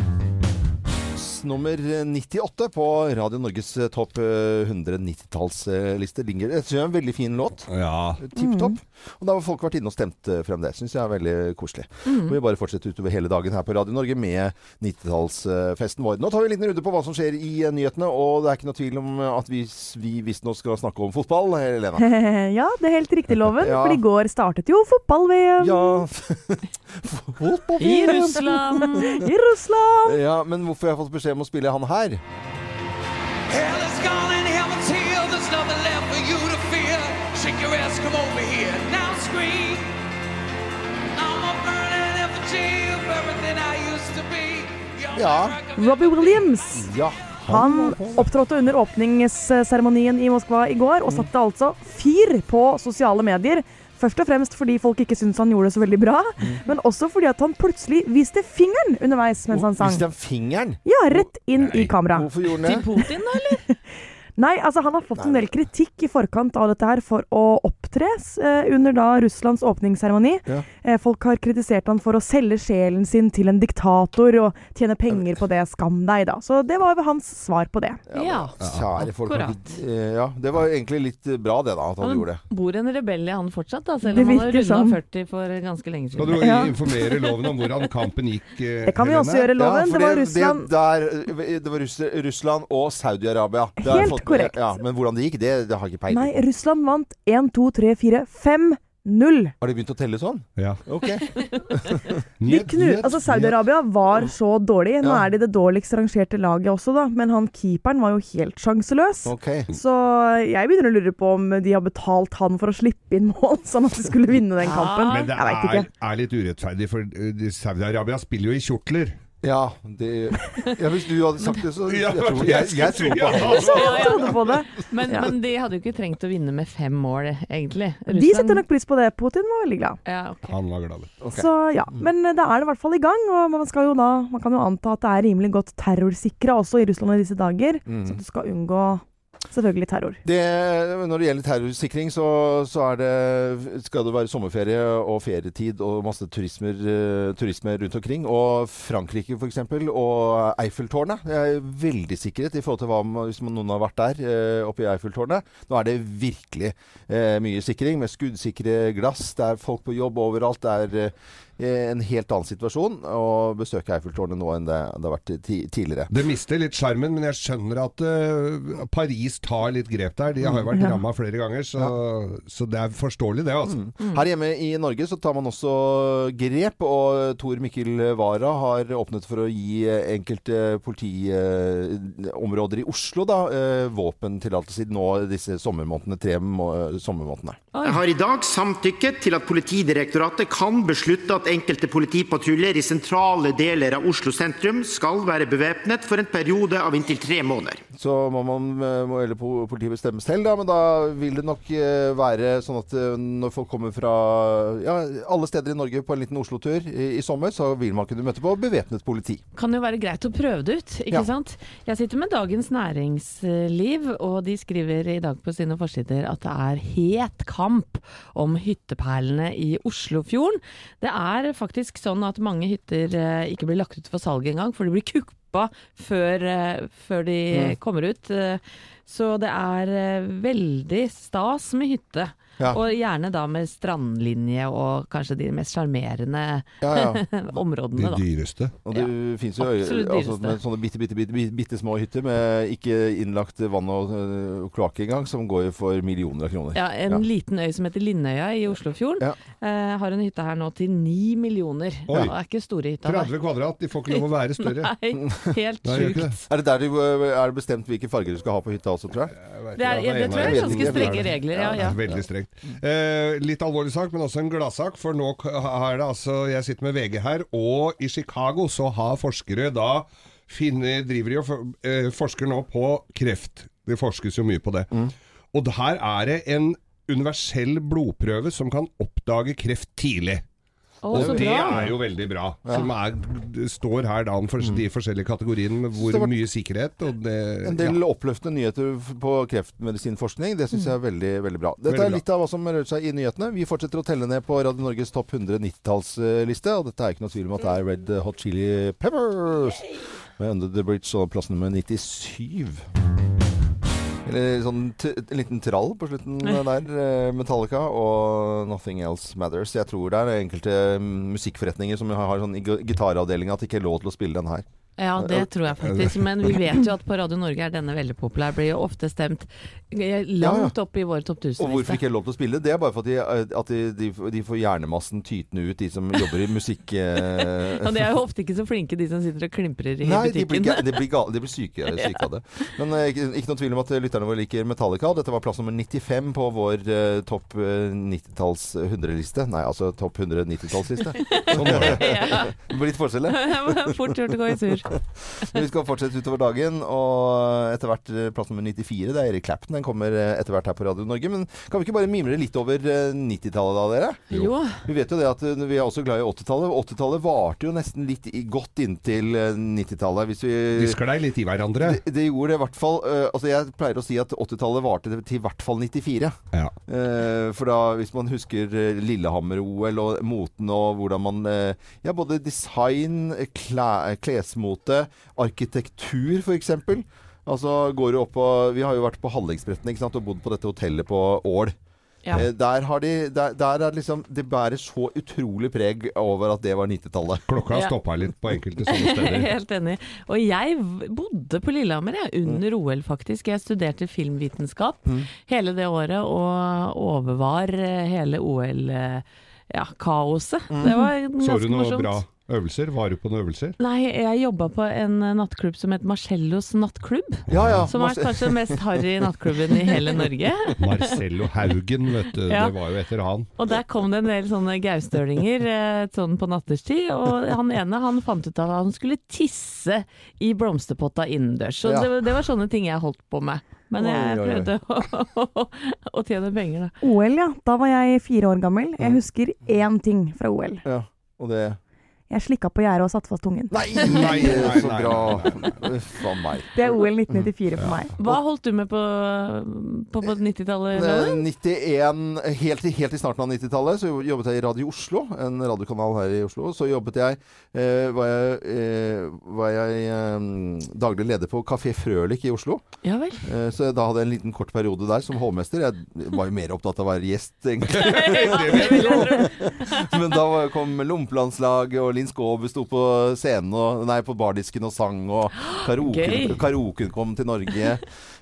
Speaker 1: Nummer 98 på Radio Norges eh, topp 190-tallsliste. Det synes jeg er en veldig fin låt.
Speaker 2: Ja.
Speaker 1: Tipp topp.
Speaker 5: Mm.
Speaker 1: Og da har folk vært inne og stemt eh, frem det. Syns jeg er veldig koselig.
Speaker 5: Mm.
Speaker 1: Og vi bare fortsetter utover hele dagen her på Radio Norge med 90-tallsfesten vår. Nå tar vi en liten runde på hva som skjer i eh, nyhetene, og det er ikke noe tvil om eh, at vi, s- vi visstnok skal snakke om fotball, eh, Helena.
Speaker 5: Ja, det er helt riktig, Loven.
Speaker 1: Ja.
Speaker 5: For i går startet jo fotball-VM
Speaker 1: Ja, fotball.
Speaker 4: I Russland!
Speaker 5: i Russland.
Speaker 1: Ja, men hvorfor har jeg fått beskjed om å spille han her? Ja.
Speaker 5: Robbie Williams.
Speaker 1: ja.
Speaker 5: Han opptrådte under åpningsseremonien i Moskva i går og satte altså fyr på sosiale medier. Først og fremst fordi folk ikke syntes han gjorde det så veldig bra,
Speaker 1: Mm.
Speaker 5: men også fordi at han plutselig viste fingeren underveis mens han
Speaker 1: Hvis
Speaker 5: sang.
Speaker 1: den fingeren
Speaker 5: Ja, rett inn i kamera.
Speaker 1: Hvorfor gjorde
Speaker 4: Til
Speaker 1: den det?
Speaker 4: Putin, da, eller?
Speaker 5: Nei, altså han har fått en del kritikk i forkant av dette her for å opptre eh, under da Russlands åpningsseremoni.
Speaker 1: Ja.
Speaker 5: Eh, folk har kritisert han for å selge sjelen sin til en diktator og tjene penger på det. Skam deg, da. Så det var hans svar på det.
Speaker 4: Ja.
Speaker 1: Kjære folk.
Speaker 4: Akkurat.
Speaker 1: eh, Ja, det var egentlig litt eh, bra det, da, at han
Speaker 4: Han
Speaker 1: gjorde det.
Speaker 4: bor en rebell i han fortsatt, da, selv
Speaker 5: Det
Speaker 4: om han har
Speaker 5: virker
Speaker 4: runda
Speaker 5: sånn.
Speaker 4: 40 for ganske lenge
Speaker 2: Skal
Speaker 4: siden.
Speaker 2: du
Speaker 5: Ja.
Speaker 2: informere loven om hvordan kampen gikk? eh,
Speaker 5: Det kan vi også gjøre,
Speaker 1: Ja,
Speaker 5: Loven.
Speaker 1: for
Speaker 5: det var Russland.
Speaker 1: Det, der, eh, det var Russ- Russland og Saudi-Arabia. Det har jeg
Speaker 5: Helt
Speaker 1: fått med-
Speaker 5: korrekt.
Speaker 1: Ja, men hvordan det gikk, det, det har jeg ikke
Speaker 5: Nei,
Speaker 1: peiling på.
Speaker 5: Russland vant 1, 2, 3, 4, 5. 0.
Speaker 1: Har de begynt å telle sånn?
Speaker 2: Ja.
Speaker 1: Ok.
Speaker 5: De knu, altså Saudi-Arabia var så dårlig. Nå
Speaker 1: Ja.
Speaker 5: er de det dårligst rangerte laget også, da. Men han keeperen var jo helt sjanseløs.
Speaker 1: ok.
Speaker 5: Så jeg begynner å lure på om de har betalt han for å slippe inn mål, sånn at de skulle vinne den kampen.
Speaker 2: Ah. Men det
Speaker 5: jeg veit ikke.
Speaker 2: er, er litt urettferdig, for eh, de- Saudi-Arabia spiller jo i kjortler.
Speaker 1: Ja, det, ja, hvis du hadde sagt det, så
Speaker 2: Ja,
Speaker 1: Jeg tror, jeg, jeg tror på han.
Speaker 5: Så jeg trodde på det.
Speaker 4: Men,
Speaker 5: Ja.
Speaker 4: men de hadde jo ikke trengt å vinne med fem mål, egentlig.
Speaker 5: De setter nok pris på det. Putin var veldig glad.
Speaker 4: ja, ok.
Speaker 2: Han var glad.
Speaker 1: Ok.
Speaker 5: Så ja, Men da er det i hvert fall i gang. Og man, skal jo da, man kan jo anta at det er rimelig godt terrorsikra også i Russland i disse dager. Så
Speaker 2: Mm.
Speaker 1: Mm.
Speaker 5: at du skal unngå selvfølgelig terror.
Speaker 1: Det, når det gjelder terrorsikring, så, så er det, skal det være sommerferie og ferietid og masse turismer, eh, turisme rundt omkring. Og Frankrike f.eks. og Eiffeltårnet. Det er veldig sikret i forhold til hva, man- hvis man- noen har vært der eh, oppe i Eiffeltårnet. Nå er det virkelig eh, mye sikring med skuddsikre glass. Det er folk på jobb overalt. Det er eh, en helt annen situasjon å besøke Eiffeltårnet nå enn det, det har vært ti tidligere.
Speaker 2: Det mister litt sjarmen, men jeg skjønner at eh, Paris tar litt grep der. De har
Speaker 4: Mm.
Speaker 2: jo vært
Speaker 5: Ja.
Speaker 2: ramma flere ganger, så, så det er forståelig det. altså.
Speaker 4: Mm.
Speaker 1: Her hjemme i Norge så tar man også grep, og Tor Mikkel Wara har åpnet for å gi enkelte politiområder i Oslo da, eh, våpentillatelse nå disse sommermånedene, tre må sommermånedene.
Speaker 6: Jeg har i dag samtykket til at Politidirektoratet kan beslutte at enkelte politipatruljer i sentrale deler av Oslo sentrum skal være bevæpnet for en periode av inntil tre måneder.
Speaker 1: Så må man, eh, må eller po- politiet bestemme selv, da, men da vil det nok eh, være sånn at eh, når folk kommer fra ja, alle steder i Norge på en liten Oslo-tur i, i sommer, så vil man kunne møte på bevæpnet politi.
Speaker 4: kan jo være greit å prøve det ut, ikke
Speaker 1: Ja.
Speaker 4: sant? Jeg sitter med Dagens Næringsliv, og de skriver i dag på sine forsider at det er het kamp om hytteperlene i Oslofjorden. Det er faktisk sånn at mange hytter eh, ikke blir lagt ut for salg engang, for de blir kuppa før, eh, før de
Speaker 1: Mm.
Speaker 4: kommer ut. eh, Så det er eh, veldig stas med hytte.
Speaker 1: Ja.
Speaker 4: Og gjerne da med strandlinje og kanskje de mest sjarmerende eh,
Speaker 1: Ja, ja.
Speaker 4: områdene,
Speaker 2: De
Speaker 4: da.
Speaker 2: dyreste.
Speaker 1: Og det finnes jo øy-
Speaker 4: absolutt
Speaker 1: altså,
Speaker 4: dyreste.
Speaker 1: med sånne bitte, bitte, bitte, bitte, bitte små hytter med ikke innlagt vann og øh, kloakk engang, som går jo for millioner av kroner.
Speaker 4: Ja, en liten øy som heter Lindøya i Oslofjorden.
Speaker 1: Ja.
Speaker 4: Eh, har en hytte her nå til ni millioner.
Speaker 2: Oi.
Speaker 4: Det er ikke store hytta. nei.
Speaker 2: 30 kvadrat, de får ikke lov å være større.
Speaker 4: Nei, helt
Speaker 2: Nei, gjør ikke
Speaker 4: sjukt.
Speaker 1: Er det der du, øh, er det bestemt hvilke farger du skal ha på hytta også, tror jeg?
Speaker 4: Det, er, ja, det tror jeg er
Speaker 1: vet
Speaker 4: ganske
Speaker 1: ikke.
Speaker 4: strenge regler, ja. ja.
Speaker 2: Veldig strengt. Eh, litt alvorlig sak, men også en gladsak. For nå k- er det altså Jeg sitter med VG her, og i Chicago så har forskere da finner, Driver de og for- eh, forsker nå på kreft. Det forskes jo mye på det.
Speaker 4: Mm.
Speaker 2: Og det her er det en universell blodprøve som kan oppdage kreft tidlig.
Speaker 4: Å,
Speaker 2: Og
Speaker 4: så
Speaker 2: det
Speaker 4: bra. Mm.
Speaker 2: er jo veldig bra. Som er, det står her da om for, de forskjellige kategoriene med
Speaker 1: Så det
Speaker 2: hvor
Speaker 1: var-
Speaker 2: mye sikkerhet og det
Speaker 1: En del oppløftende nyheter f- på kreftmedisinforskning. Det syns jeg er veldig veldig bra. Dette
Speaker 2: Mm. Veldig
Speaker 1: er
Speaker 2: bra.
Speaker 1: litt av hva som rører seg i nyhetene. Vi fortsetter å telle ned på Radio Norges topp 100 90-tallsliste. Og dette er ikke noe tvil om at det er Red Hot Chili Peppers med Under the Bridge og plass nummer 97. Eller sånn t en liten trall på slutten der. eh, Metallica og Nothing Else Matters. Jeg tror det er enkelte mm, musikkforretninger som har sånn i gi- gitaravdelinga at det ikke er lov til å spille den her.
Speaker 4: Ja, det tror jeg faktisk. Men vi vet jo at på Radio Norge er denne veldig populær. Blir jo ofte stemt eh, langt opp i vår topp
Speaker 1: Og hvorfor ikke
Speaker 4: 1000-liste.
Speaker 1: er lov til å spille? Det er bare for at de, eh, at de, de, de får hjernemassen tytende ut, de som jobber i musikk... eh,
Speaker 4: Og de er jo ofte ikke så flinke, de som sitter og klimprer i
Speaker 1: Nei, de blir,
Speaker 4: butikken.
Speaker 1: ga- de blir, ga- de blir syke, syke av det. Men eh, ikke, ikke noe tvil om at lytterne våre liker Metallica. Dette var plass nummer 95 på vår eh, topp eh, 90-talls 100-liste. Nei, altså topp 100 90-tallsliste.
Speaker 2: Sånn var det.
Speaker 1: Litt forskjell, ja.
Speaker 4: Fort gjort å gå i sur.
Speaker 1: Men vi skal fortsette utover dagen, og etter hvert eh, plass nummer 94, det er Erik Clapton. Den kommer eh, etter hvert her på Radio Norge. Men kan vi ikke bare mimre litt over eh, 90-tallet da, dere?
Speaker 4: Jo.
Speaker 1: Vi vet jo det at eh, vi er også glad i 80-tallet. 80-tallet varte jo nesten litt i, godt inntil eh, 90-tallet. Hvis vi
Speaker 2: De sklei litt i hverandre.
Speaker 1: det, det gjorde det i hvert fall. eh, altså jeg pleier å si at 80-tallet varte til i hvert fall 94.
Speaker 2: Ja.
Speaker 1: Eh, for da, hvis man husker eh, Lillehammer-OL og moten og hvordan man eh, Ja, både design, eh, klæ, klesmote, arkitektur f.eks. Altså går du opp på Vi har jo vært på Hallingsbrettene ikke sant, og bodd på dette hotellet på Ål.
Speaker 4: Ja.
Speaker 1: Eh, der har de der, der er det liksom Det bærer så utrolig preg over at det var 90-tallet.
Speaker 2: Klokka
Speaker 4: Ja.
Speaker 2: stoppa litt på enkelte sånne steder.
Speaker 4: Helt enig. Og jeg v- bodde på Lillehammer jeg, under
Speaker 1: Mm.
Speaker 4: OL, faktisk. Jeg studerte filmvitenskap hele det året og overvar eh, hele OL-kaoset.
Speaker 1: Mm.
Speaker 4: Det var ganske morsomt.
Speaker 2: Så du noen bra øvelser? Var du på noen øvelser?
Speaker 4: Nei, jeg jobba på en eh, nattklubb som het Marcellos nattklubb.
Speaker 1: Ja, ja.
Speaker 4: Som er
Speaker 1: masse-
Speaker 4: kanskje den mest harry nattklubben i hele Norge.
Speaker 2: Marcello Haugen, vet du.
Speaker 4: Ja.
Speaker 2: Det var jo etter han.
Speaker 4: Og der kom det en del sånne gaustølinger eh, sånn på natterstid. Og han ene han fant ut at han skulle tisse i blomsterpotta innendørs. Så
Speaker 1: Ja.
Speaker 4: det, det var sånne ting jeg holdt på med. Men jeg
Speaker 1: Oi, oi, oi.
Speaker 4: prøvde å, å tjene penger, da.
Speaker 5: OL, ja. Da var jeg fire år gammel. Jeg
Speaker 2: Mm.
Speaker 5: husker én ting fra OL.
Speaker 1: ja, og det
Speaker 5: Jeg slikka på gjerdet og satte fast tungen.
Speaker 1: Nei,
Speaker 2: nei, nei,
Speaker 1: så
Speaker 2: nei, nei,
Speaker 1: bra. Uff a meg.
Speaker 5: Det er OL
Speaker 2: Mm.
Speaker 5: 1994 for meg.
Speaker 4: Hva holdt du med på, på, på 90-tallet? Loven?
Speaker 1: 91, Eh, helt, i- helt i starten av 90-tallet så jobbet jeg i Radio Oslo, en radiokanal her i Oslo. Så jobbet jeg, eh, var jeg, eh, var jeg eh, daglig leder på Kafé Frølik i Oslo.
Speaker 4: Ja vel.
Speaker 1: Eh, så da hadde jeg en liten kort periode der som hovmester. Jeg var jo mer opptatt av å være gjest, egentlig.
Speaker 4: Ja, det vil jeg tro.
Speaker 1: Men da var- kom Lompelandslaget, og Linn Skåber sto på scenen og, Nei, på bardisken og sang, og karaoken,
Speaker 4: Gøy.
Speaker 1: karaoken kom til Norge.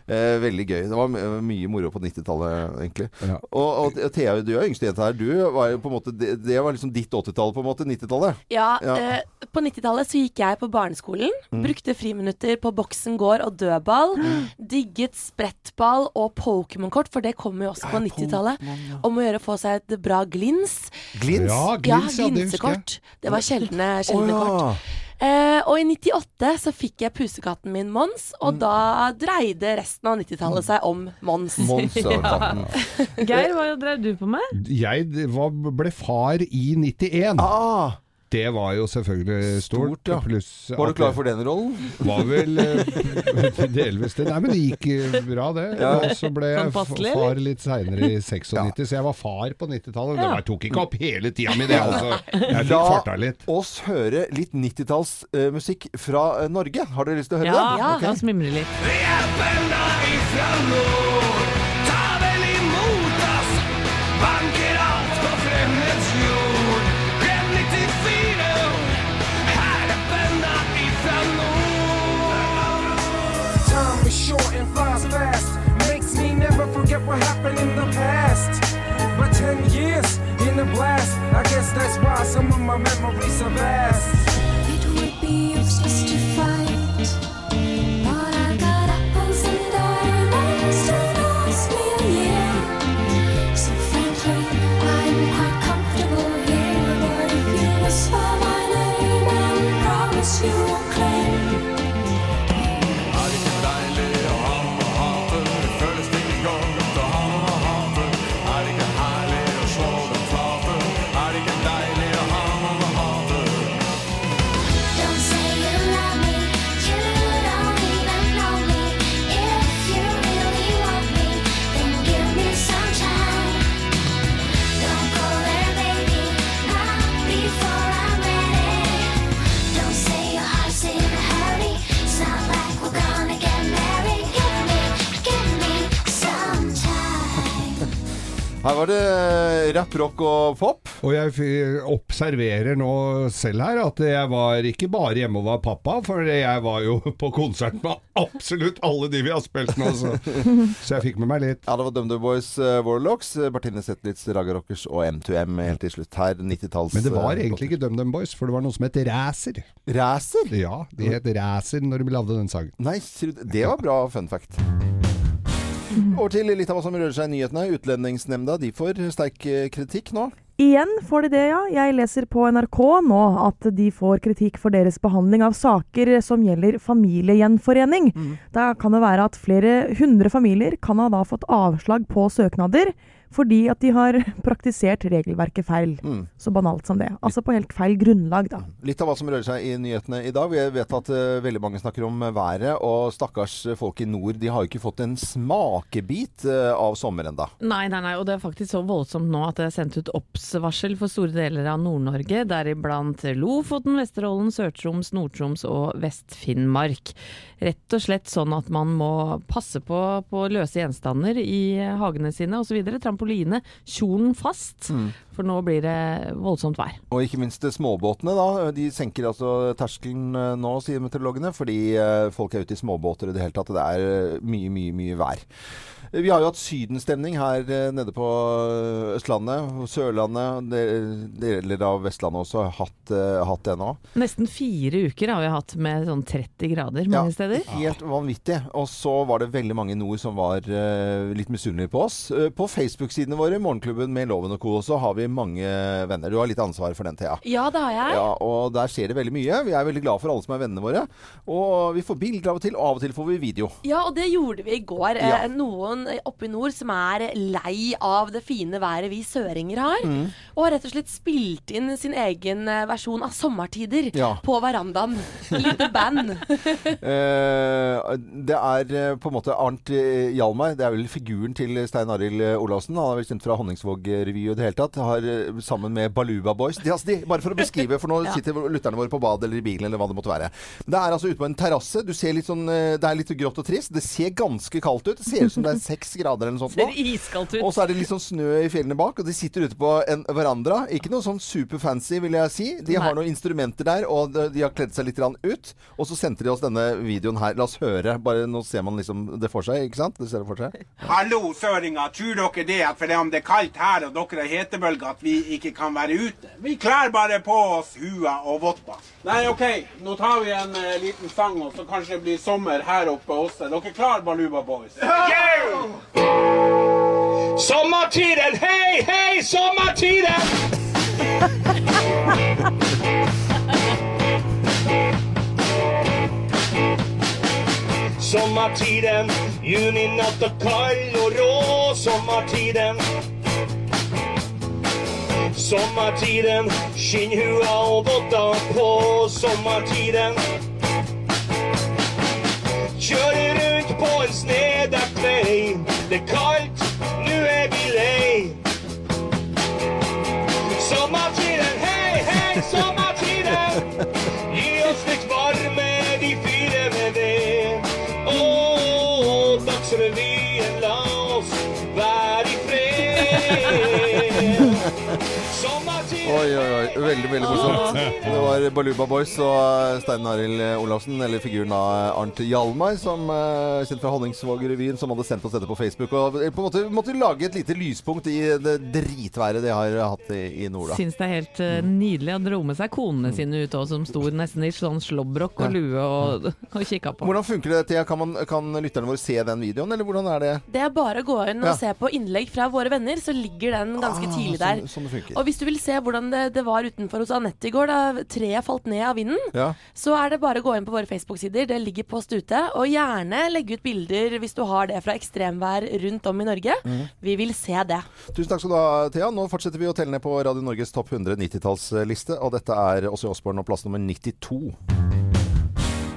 Speaker 1: Eh, veldig gøy. Det var my- mye moro på 90-tallet, egentlig.
Speaker 2: Ja.
Speaker 1: Og, og Thea, du er yngste jente her. Du var jo på en måte, det, det var liksom ditt 80-tall, på en måte. 90-tallet.
Speaker 3: Ja,
Speaker 1: Ja. Mm.
Speaker 3: eh, På 90-tallet så gikk jeg på barneskolen. Brukte friminutter på boksen gård og dødball. Digget sprettball og Pokémon-kort, for det kommer jo også på 90-tallet. Om å gjøre å få seg et bra glins.
Speaker 1: Glins.
Speaker 2: Ja,
Speaker 3: Ja,
Speaker 2: Ah, glins, ja, det husker jeg.
Speaker 3: glinsekort. Det var sjeldne,
Speaker 1: Å,
Speaker 3: sjeldne kort. Eh, og i 98 så fikk jeg pusekatten min Mons,
Speaker 2: Mm.
Speaker 3: og da dreide resten av
Speaker 1: Mm.
Speaker 3: 90-tallet seg om Mons.
Speaker 1: Mons og katten.
Speaker 4: Geir, hva drev du på med?
Speaker 2: Jeg d- var, ble far i 91.
Speaker 1: Ah,
Speaker 2: Det var jo selvfølgelig stort.
Speaker 1: Stort, ja.
Speaker 2: Pluss
Speaker 1: var du
Speaker 2: at
Speaker 1: klar
Speaker 2: det
Speaker 1: for den rollen?
Speaker 2: Var vel eh, delvis det. Nei, men det gikk eh, bra, det. Og så ble jeg
Speaker 4: Sånn passelig,
Speaker 2: f- far litt seinere i 96, så jeg var far på 90-tallet. Det var, tok ikke opp hele tida mi, det altså. Jeg fikk farta litt.
Speaker 1: oss høre litt 90-tallsmusikk fra eh, Norge. Har dere lyst til å høre
Speaker 4: Ja,
Speaker 1: den?
Speaker 4: ja.
Speaker 1: Ok.
Speaker 4: kan smimre litt.
Speaker 7: Vi er bønda ifra nord. Ta vel imot oss. Banker alt på fremmeds jord. Glem 94. Her er bønda ifra nord.
Speaker 8: Time is short and flies fast. Makes me never forget what happened in the past. But 10 years in a blast. I guess that's why some of my memories are vast.
Speaker 9: It would be useless to fight, but I got apples and diamonds to last me a year. So frankly, I'm quite comfortable here. But if you whisper my name, I promise you won't claim.
Speaker 7: Er det ikke deilig å ha med hater? Det føles ikke godt å ha med hater. Er det ikke herlig å slå dem flate? Er det ikke deilig å ha med hater?
Speaker 9: Don't say you love me, you don't even know me. If you really want me, then give me some time. Don't go there, baby, not before I'm ready. Don't say your heart's in a hurry. It's not like we're gonna get married. Give me, give me some time.
Speaker 1: Her var det eh, rap, rock og pop.
Speaker 2: Og jeg f- observerer nå selv her at jeg var ikke bare hjemme og var pappa, for jeg var jo på konsert med absolutt alle de vi har spilt nå, så, så jeg fikk med meg litt.
Speaker 1: Ja, det var DumDum Boys, eh, Warlocks, eh, Bertine Zetlitz, Raga Rockers og M2M helt til slutt her. eh, 90-talls...
Speaker 2: Men det var egentlig ikke DumDum Boys, for det var noe som het Racer.
Speaker 1: Racer?
Speaker 2: Ja, de het Racer når de lagde den sangen.
Speaker 1: Nei, sier du det? det var bra fun fact. Over til litt av hva som rører seg i nyhetene. Utlendingsnemnda de får sterk eh, kritikk nå.
Speaker 5: Igjen får de det, ja. Jeg leser på NRK nå at de får kritikk for deres behandling av saker som gjelder familiegjenforening. Da kan det være at flere hundre familier kan ha da fått avslag på søknader fordi at de har praktisert regelverket feil.
Speaker 1: Mm.
Speaker 5: Så banalt som det. Altså på helt feil grunnlag, da.
Speaker 1: Litt av hva som rører seg i nyhetene i dag. Vi vet at eh, veldig mange snakker om været, og stakkars folk i nord de har jo ikke fått en smakebit eh, av sommer enda.
Speaker 4: Nei, nei, nei, og det er faktisk så voldsomt nå at det er sendt ut obs-varsel for store deler av Nord-Norge, deriblant Lofoten, Vesterålen, Sør-Troms, Nord-Troms og Vest-Finnmark. Rett og slett sånn at man må passe på, på løse gjenstander i hagene sine osv. Trampoline, kjolen fast, for nå blir det voldsomt vær.
Speaker 1: Og ikke minst eh, småbåtene, da. De senker altså terskelen eh, nå, sier meteorologene, fordi eh, folk er ute i småbåter i det hele tatt. og Det er eh, mye, mye, mye vær. Eh, Vi har jo hatt sydenstemning her eh, nede på eh, Østlandet, og Sørlandet, de- deler av Vestlandet også har hatt, eh, hatt det nå.
Speaker 4: Nesten fire uker har vi hatt med sånn 30 grader mange steder.
Speaker 1: Helt vanvittig. Og så var det veldig mange i nord som var eh, litt misunnelige på oss. Eh, på Facebook-sidene våre, Morgenklubben med Loven og co., så har vi mange venner. Du har litt ansvar for den, Thea.
Speaker 3: Ja, det har jeg.
Speaker 1: Ja, og der skjer det veldig mye. Vi er veldig glad for alle som er vennene våre. Og vi får bilder av og til, og av og til får vi video.
Speaker 3: Ja, og det gjorde vi i går.
Speaker 1: Ja.
Speaker 3: Eh, Noen oppe i nord som er lei av det fine været vi søringer har.
Speaker 1: Mm.
Speaker 3: Og har rett og slett spilt inn sin egen eh, versjon av Sommertider
Speaker 1: Ja.
Speaker 3: på verandaen. Lite band.
Speaker 1: Eh, det er eh, på en måte Arnt eh, Hjalmar, det er vel figuren til Stein Arild eh, Olavsen. Han er vel kjent fra Honningsvåg-revy og det hele tatt. Har, eh, sammen med Baluba Boys. De, altså, de, bare for å beskrive, for nå sitter lytterne våre på badet eller i bilen eller hva det måtte være. Det er altså ute på en terrasse. Du ser litt sånn eh, Det er litt grått og trist. Det ser ganske kaldt ut. Det ser ut som det er seks grader eller noe sånt. nå.
Speaker 4: Ser iskaldt ut.
Speaker 1: Og så er det litt sånn snø i fjellene bak, og de sitter ute på en veranda. Ikke noe sånn superfancy, vil jeg si. De har
Speaker 4: Nei.
Speaker 1: noen instrumenter der, og de- de har kledd seg litt grann ut. Og så sendte de oss denne videoen her. La oss høre. Bare nå ser man liksom det for seg, ikke sant? Det ser det for seg.
Speaker 10: Hallo, søringer. Tror dere det at fordi om det er kaldt her og dere har hetebølger, at vi ikke kan være ute? Vi kler bare på oss hua og votter. Nei, OK. Nå tar vi en eh, liten sang, og så kanskje det blir sommer her oppe også. Dere klar, Baluba Boys? Sommertiden! Hei, hei, sommertiden! Sommertiden, juninatt og kald og rå sommertiden. Sommertiden, skinnhua og votter på sommertiden. Kjører rundt på en snedekt vei. Det er kaldt, nu er vi lei. Sommertiden, hei, hei, sommertiden. Gi oss litt varme, de fyrer med ved. Å, Dagsrevyen, la oss være i fred. Sommertiden
Speaker 1: Oi, oi, oi. Veldig, veldig morsomt. Det var Baluba Boys og Stein Arild Olavsen, eller figuren av Arnt Hjalmar, som eh, kjent fra Honningsvåg-revyen, som hadde sendt oss dette på Facebook. Og eh, på en måte måtte lage et lite lyspunkt i det dritværet de har hatt i, i nord, da.
Speaker 4: Syns det er helt eh,
Speaker 1: Mm.
Speaker 4: nydelig. Han dro med seg konene sine ut òg, som sto nesten i sånn slåbrok og lue og, og kikka på.
Speaker 1: Mm. Hvordan funker det, Thea? Kan, man- kan lytterne våre se den videoen, eller hvordan er det?
Speaker 3: Det er bare å gå inn og
Speaker 1: Ja.
Speaker 3: se på innlegg fra våre venner, så ligger den ganske
Speaker 1: Ah,
Speaker 3: tidlig
Speaker 1: sånn-
Speaker 3: der.
Speaker 1: sånn det funker.
Speaker 3: og hvis du vil se hvordan det, det var utenfor hos Anette i går, da treet falt ned av vinden,
Speaker 1: Ja.
Speaker 3: så er det bare å gå inn på våre Facebook-sider. Det ligger post ute. Og gjerne legge ut bilder hvis du har det fra ekstremvær rundt om i Norge.
Speaker 1: Mm.
Speaker 3: Vi vil se det.
Speaker 1: Tusen takk skal du ha, Thea. Nå fortsetter vi å telle ned på Radio Norges topp 100 90-tallsliste, og dette er Åse Osborn og plass nummer 92.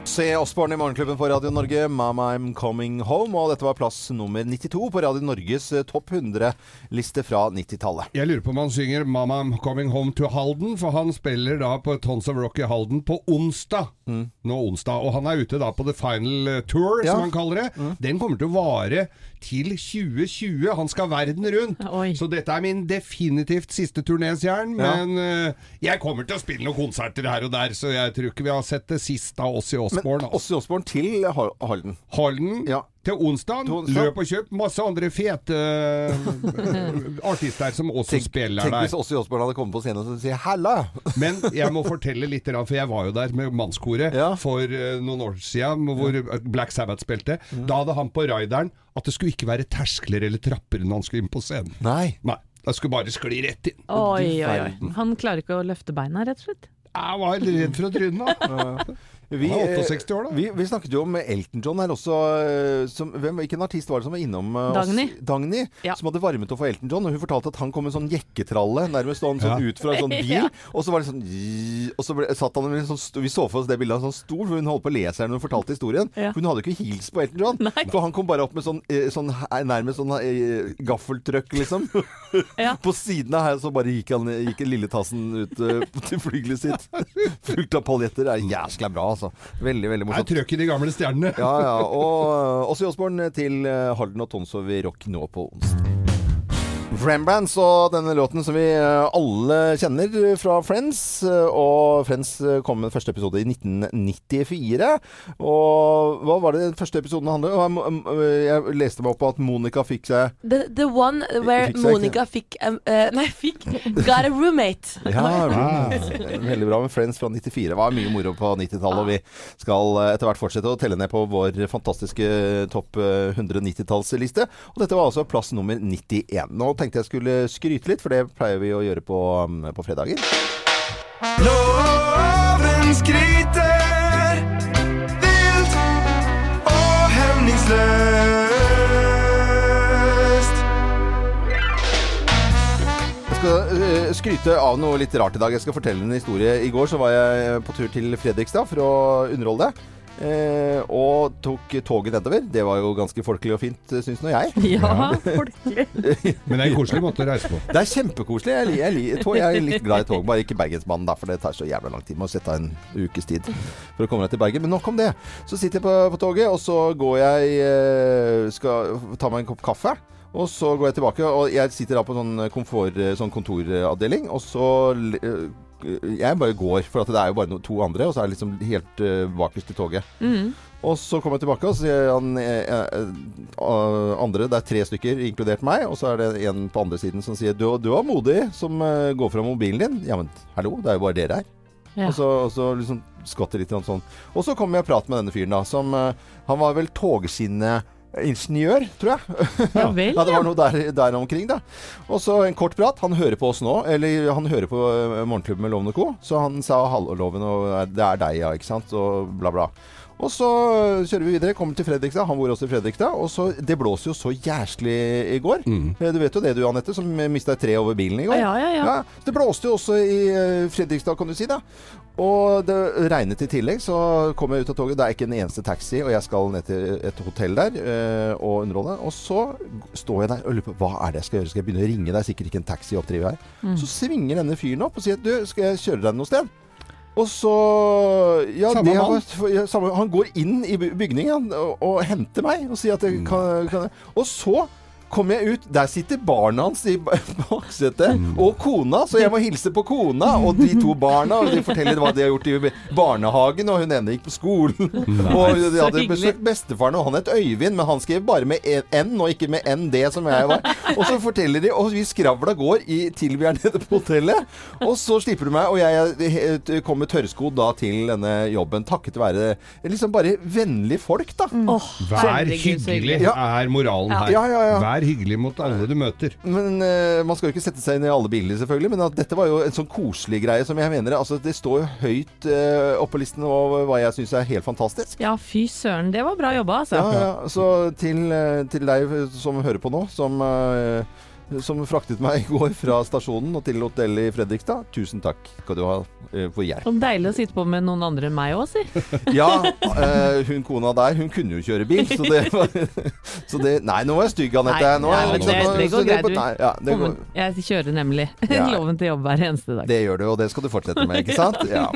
Speaker 1: Se Osborn i Morgenklubben på Radio Norge, 'Mama I'm Coming Home', og dette var plass nummer 92 på Radio Norges eh, topp 100-liste fra 90-tallet.
Speaker 2: Jeg lurer på om han synger 'Mama I'm Coming Home to Halden', for han spiller da på Tons of Rock i Halden på onsdag. Nå onsdag, Og han er ute da på The Final eh, Tour,
Speaker 1: Mm. Ja. Mm.
Speaker 2: som han kaller det. Den kommer til å vare til 2020. Han skal verden rundt.
Speaker 4: Oi.
Speaker 2: Så dette er min definitivt siste turné, sier han.
Speaker 1: Ja.
Speaker 2: Men eh, jeg kommer til å spille noen konserter her og der, så jeg tror ikke vi har sett det siste av oss i Osborne.
Speaker 1: Men
Speaker 2: altså.
Speaker 1: Åse Osborn til Hal- Halden.
Speaker 2: Halden
Speaker 1: Ja.
Speaker 2: til onsdag.
Speaker 1: Til onsdag.
Speaker 2: Løp og kjøp. Masse andre fete eh, artister som også spiller
Speaker 1: Tenk
Speaker 2: der.
Speaker 1: hvis Åse Osborn hadde kommet på scenen og sagt 'halla'.
Speaker 2: Men jeg må fortelle litt, grann, for jeg var jo der med mannskoret
Speaker 1: Ja.
Speaker 2: for eh, noen år siden, hvor Black Sabbath spilte. Da hadde han på raideren at det skulle ikke være terskler eller trapper når han skulle inn på scenen.
Speaker 1: Nei.
Speaker 2: Nei. Jeg skulle bare skli rett inn.
Speaker 4: Oi, oi, oi.
Speaker 1: verden.
Speaker 4: Han klarer ikke å løfte beina, rett og slett.
Speaker 2: Jeg var redd for å tryne. da.
Speaker 1: Vi, eh,
Speaker 2: Han er 68 år, da.
Speaker 1: Vi, vi snakket jo om Elton John her også. eh, Som, hvem, hvilken artist var det som var innom eh,
Speaker 4: Dagny.
Speaker 1: oss? Dagny.
Speaker 4: Ja.
Speaker 1: Som hadde varmet opp for Elton John. Og hun fortalte at han kom med en sånn jekketralle nærmest sånn, sånn
Speaker 2: Ja.
Speaker 1: ut fra en sånn bil.
Speaker 4: Ja.
Speaker 1: Og så var det sånn «Gi», Og så ble, satt han med en sånn sto- Vi så for oss det bildet av en sånn stol, for hun holdt på å lese her når hun fortalte historien.
Speaker 4: Ja.
Speaker 1: For hun hadde jo ikke hilst på Elton John.
Speaker 4: Nei.
Speaker 1: For han kom bare opp med sånn, eh, sånn eh, nærmest sånn eh, gaffeltrøkk, liksom.
Speaker 4: Ja.
Speaker 1: På siden av her så bare gikk, han, gikk lilletassen ut eh, til flygelet sitt. Fullt av paljetter. Det er jæskla bra, altså. Veldig, veldig
Speaker 2: Jeg
Speaker 1: morsomt.
Speaker 2: trøkk i de gamle stjernene.
Speaker 1: Ja, ja. Og Åssi Osborn til eh, Halden og Tonsov i Rock nå på onsdag. Frambrands og denne låten som vi eh, alle kjenner fra Friends. eh, Og Friends eh, kom med første episode i 1994. Og hva var det den første episoden handlet om? Jeg må- Jeg leste meg opp på at Monica fikk seg
Speaker 3: The, the one where
Speaker 1: Fikk seg ikke.
Speaker 3: Monica fikk um, eh, Nei, fikk Got a roommate.
Speaker 1: Ja, Veldig bra med Friends fra 94. Det var mye moro på 90-tallet, og vi skal eh, etter hvert fortsette å telle ned på vår fantastiske topp eh, 190-tallsliste. Og dette var altså plass nummer 91. Nå tenkte jeg skulle skryte litt, for det pleier vi å gjøre på, um, på fredager.
Speaker 7: Loven skryter vilt og hemningsløst.
Speaker 1: Jeg skal eh, skryte av noe litt rart i dag. Jeg skal fortelle en historie. I går så var jeg eh, på tur til Fredrikstad for å underholde deg. eh, og tok toget nedover. Det var jo ganske folkelig og fint, eh, syns nå jeg.
Speaker 4: Ja.
Speaker 2: Men det er en koselig måte å reise på.
Speaker 1: Det er kjempekoselig. Jeg, li- jeg, li- tog, jeg er litt glad i tog, bare ikke Bergensbanen, da, for det tar så jævla lang tid. Må sette av en ukes tid for å komme deg til Bergen. Men nok om det. Så sitter jeg på, på toget, og så går jeg eh, Skal ta meg en kopp kaffe. Og så går jeg tilbake, og jeg sitter da på en sånn, komfort, sånn kontoravdeling, og så l- eh, Jeg bare går, for at det er jo bare no, to andre, og så er jeg liksom helt eh, bakerst i toget. Og så kommer jeg tilbake, og så sier han eh, eh, eh, andre Det er tre stykker, inkludert meg. Og så er det en på andre siden som sier Du, du var modig som eh, går fra mobilen din. Ja, men hallo, det er jo bare dere her.
Speaker 4: Ja.
Speaker 1: Og så, og så liksom skvatter litt grann sånn. Og så kommer jeg og prater med denne fyren, da. Som eh, Han var vel togsinneingeniør, tror jeg.
Speaker 4: Ja vel,
Speaker 1: Ja, det
Speaker 4: ja.
Speaker 1: var noe der, der omkring, da. Og så en kort prat. Han hører på oss nå, eller han hører på eh, Morgenklubben med Loven og Co. Så han sa 'hallo, Loven, og eh, det er deg, ja', ikke sant, og bla, bla. Og så kjører vi videre, kommer til Fredrikstad. Han bor også i Fredrikstad. Og så, Det blåser jo så jæslig i går. Eh, Du vet jo det du, Anette, som mista et tre over bilen i går.
Speaker 4: Ja, ja, ja.
Speaker 1: så det blåste jo også i eh, Fredrikstad, kan du si. da. Og det regnet i tillegg, så kom jeg ut av toget. Det er ikke en eneste taxi, og jeg skal ned til et hotell der eh, og underholde. Og så g- står jeg der og lurer på hva er det jeg skal gjøre. Skal jeg begynne å ringe? Det er sikkert ikke en taxi i oppdrivet her.
Speaker 4: Mm.
Speaker 1: Så svinger denne fyren opp og sier du, skal jeg kjøre deg noe sted? Og så ja,
Speaker 2: Samme
Speaker 1: det
Speaker 2: mann?
Speaker 1: var- ja, samme, Han går inn i by- bygningen og, og henter meg og sier at jeg kan, kan jeg. Og så kommer jeg ut. Der sitter barna hans i ba- baksetet, og kona. Så jeg må hilse på kona og de to barna. Og de forteller hva de har gjort i barnehagen, og hun ene gikk på skolen. Og de hadde
Speaker 4: hyggelig.
Speaker 1: besøkt bestefaren, og han het Øyvind, men han skrev bare med e- N, og ikke med ND, som jeg var. Og så forteller de, og vi skravla går i, til vi er nede på hotellet. Og så slipper du meg, og jeg eh, kom med tørrskodd da til denne jobben, takket være liksom bare vennlige folk, da.
Speaker 2: Vær
Speaker 4: Herregud, så
Speaker 2: hyggelig,
Speaker 1: hyggelig.
Speaker 2: er moralen her.
Speaker 1: Ja, ja, ja.
Speaker 2: Vær hyggelig mot alle du møter.
Speaker 1: Men eh, Man skal jo ikke sette seg inn i alle bilene, selvfølgelig, men at dette var jo en sånn koselig greie som jeg mener altså, Det står jo høyt eh, oppe på listen over hva jeg syns er helt fantastisk.
Speaker 4: ja, fy søren. Det var bra jobba, altså.
Speaker 1: Ja, ja. Så til, eh, til deg som hører på nå, som, eh, som fraktet meg i går fra stasjonen og til hotellet i Fredrikstad, tusen takk skal du ha eh, for hjelp.
Speaker 4: Så Deilig å sitte på med noen andre enn meg òg, si.
Speaker 1: Ja, eh, hun kona der, hun kunne jo kjøre bil, så det var så det, Nei, nå var jeg stygg, Anette.
Speaker 4: Nei,
Speaker 1: Nå er jeg
Speaker 4: nei,
Speaker 1: liksom-
Speaker 4: det- det går
Speaker 1: så
Speaker 4: greit, du.
Speaker 1: Nei, ja, det går,
Speaker 4: Jeg kjører nemlig
Speaker 1: Ja.
Speaker 4: loven til jobb hver eneste dag.
Speaker 1: Det gjør du, og det skal du fortsette med, ikke sant? Ja.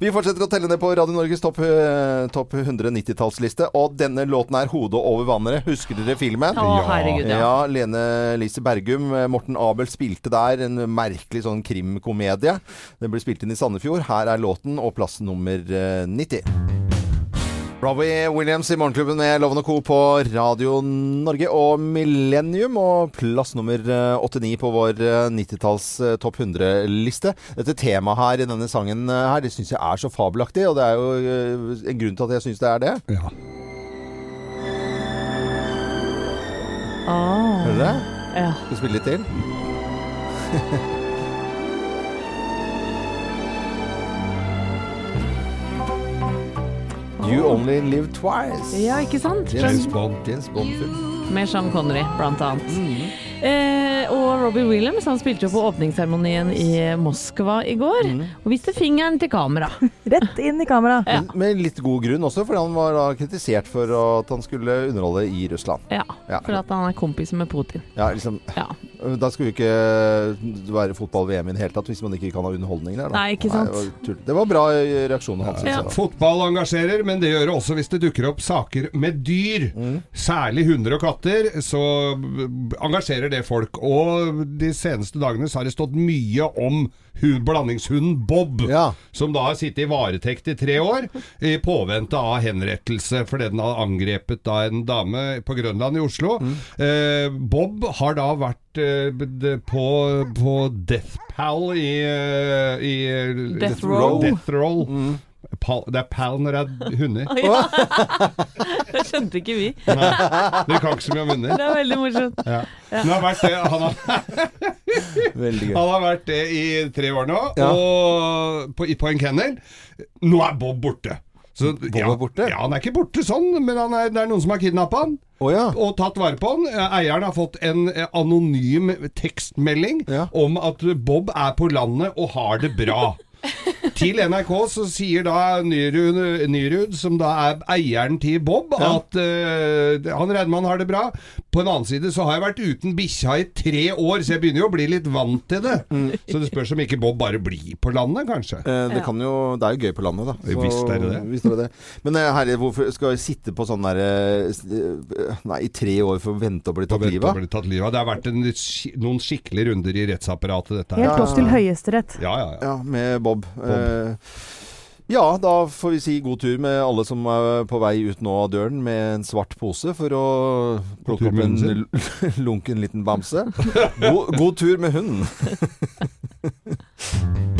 Speaker 1: Vi fortsetter å telle ned på Radio Norges topp, eh, topp 190-tallsliste, og denne låten er 'Hodet over vannet'. Husker dere filmen?
Speaker 4: Å, herregud, ja.
Speaker 1: Ja, Lene Lise Bergum, eh, Morten Abel spilte der en merkelig sånn krimkomedie. Den ble spilt inn i Sandefjord. Her er låten og plass nummer eh, 90. Robbie Williams i Morgenklubben med Loven og Co. på Radio Norge og Millennium. Og plass nummer eh, 89 på vår eh, 90-talls eh, topp 100-liste. Dette temaet her i denne sangen eh, her, det syns jeg er så fabelaktig. Og det er jo eh, en grunn til at jeg syns det er det.
Speaker 2: Ja.
Speaker 1: Hører du det?
Speaker 4: Ja.
Speaker 1: Skal vi spille litt til? You Only Live Twice.
Speaker 4: ja, ikke sant?
Speaker 1: James
Speaker 4: Skjønn-
Speaker 1: Bond. James Bond-film.
Speaker 4: Med Sean Connery, blant annet. Eh, og Robbie Williams han spilte jo på åpningsseremonien i Moskva i går. Og viste fingeren til kamera.
Speaker 5: Rett inn i kamera.
Speaker 1: Men Med litt god grunn også, fordi han var da kritisert for at han skulle underholde i Russland.
Speaker 4: Ja,
Speaker 1: Ja.
Speaker 4: For at han er kompis med Putin.
Speaker 1: Ja, liksom,
Speaker 4: Ja.
Speaker 1: da skulle jo ikke være fotball-VM i det hele tatt, hvis man ikke kan ha underholdning der. Da.
Speaker 4: Nei, ikke sant.
Speaker 1: det, var tull. det var bra reaksjon hans.
Speaker 4: Ja.
Speaker 1: synes jeg, da.
Speaker 2: Fotball engasjerer, men det gjør det også hvis det dukker opp saker med dyr. Særlig hunder og katter, så b- engasjerer det folk. Og de seneste dagene så har det stått mye om hu- blandingshunden Bob,
Speaker 1: Ja.
Speaker 2: som da har sittet i varetekt i tre år i påvente av henrettelse fordi den har angrepet da en dame på Grønland i Oslo. Eh, Bob har da vært eh, b- d- på, på Death Pal i, eh, i
Speaker 4: Death Row.
Speaker 2: Death Roll.
Speaker 1: Mm.
Speaker 2: Pal, det er pal når det er hunder.
Speaker 4: Det skjønte ikke vi.
Speaker 2: Dere kan ikke så mye om hunder.
Speaker 4: Det er veldig morsomt.
Speaker 2: Ja. Men Han, har vært det, han, har,
Speaker 1: Veldig gøy.
Speaker 2: han har vært det i tre år nå,
Speaker 1: Ja.
Speaker 2: og på, i- på en kennel. Nå er Bob borte. Så,
Speaker 1: Bob er borte?
Speaker 2: Ja, han er ikke borte sånn, men han er, det er noen som har kidnappa han.
Speaker 1: Å ja.
Speaker 2: og tatt vare på han. Eieren har fått en eh, anonym tekstmelding
Speaker 1: Ja.
Speaker 2: om at Bob er på landet og har det bra. Til NRK så sier da Nyrud, Nyrud som da er eieren til Bob, at eh, han regner med han har det bra. På en annen side så har jeg vært uten bikkja i tre år, så jeg begynner jo å bli litt vant til det. Så det spørs om ikke Bob bare blir på landet, kanskje.
Speaker 1: Mm. Eh, Det, kan jo, det er jo gøy på landet, da.
Speaker 2: Ja, visst er det det.
Speaker 1: visst er det det. Men eh, herre, hvorfor skal vi sitte på sånn derre eh, Nei, i tre år for å vente å bli tatt livet av?
Speaker 2: Det, tatt livet av. det har vært en, sk- noen skikkelige runder i rettsapparatet, dette her.
Speaker 5: Helt opp til Høyesterett.
Speaker 2: Ja, ja, ja.
Speaker 1: Ja, med Bob. Eh, ja, da får vi si god tur med alle som er på vei ut nå av døren med en svart pose for å plukke
Speaker 2: tur
Speaker 1: opp
Speaker 2: med
Speaker 1: en
Speaker 2: hunden
Speaker 1: l- lunken liten bamse. God, god tur med hunden.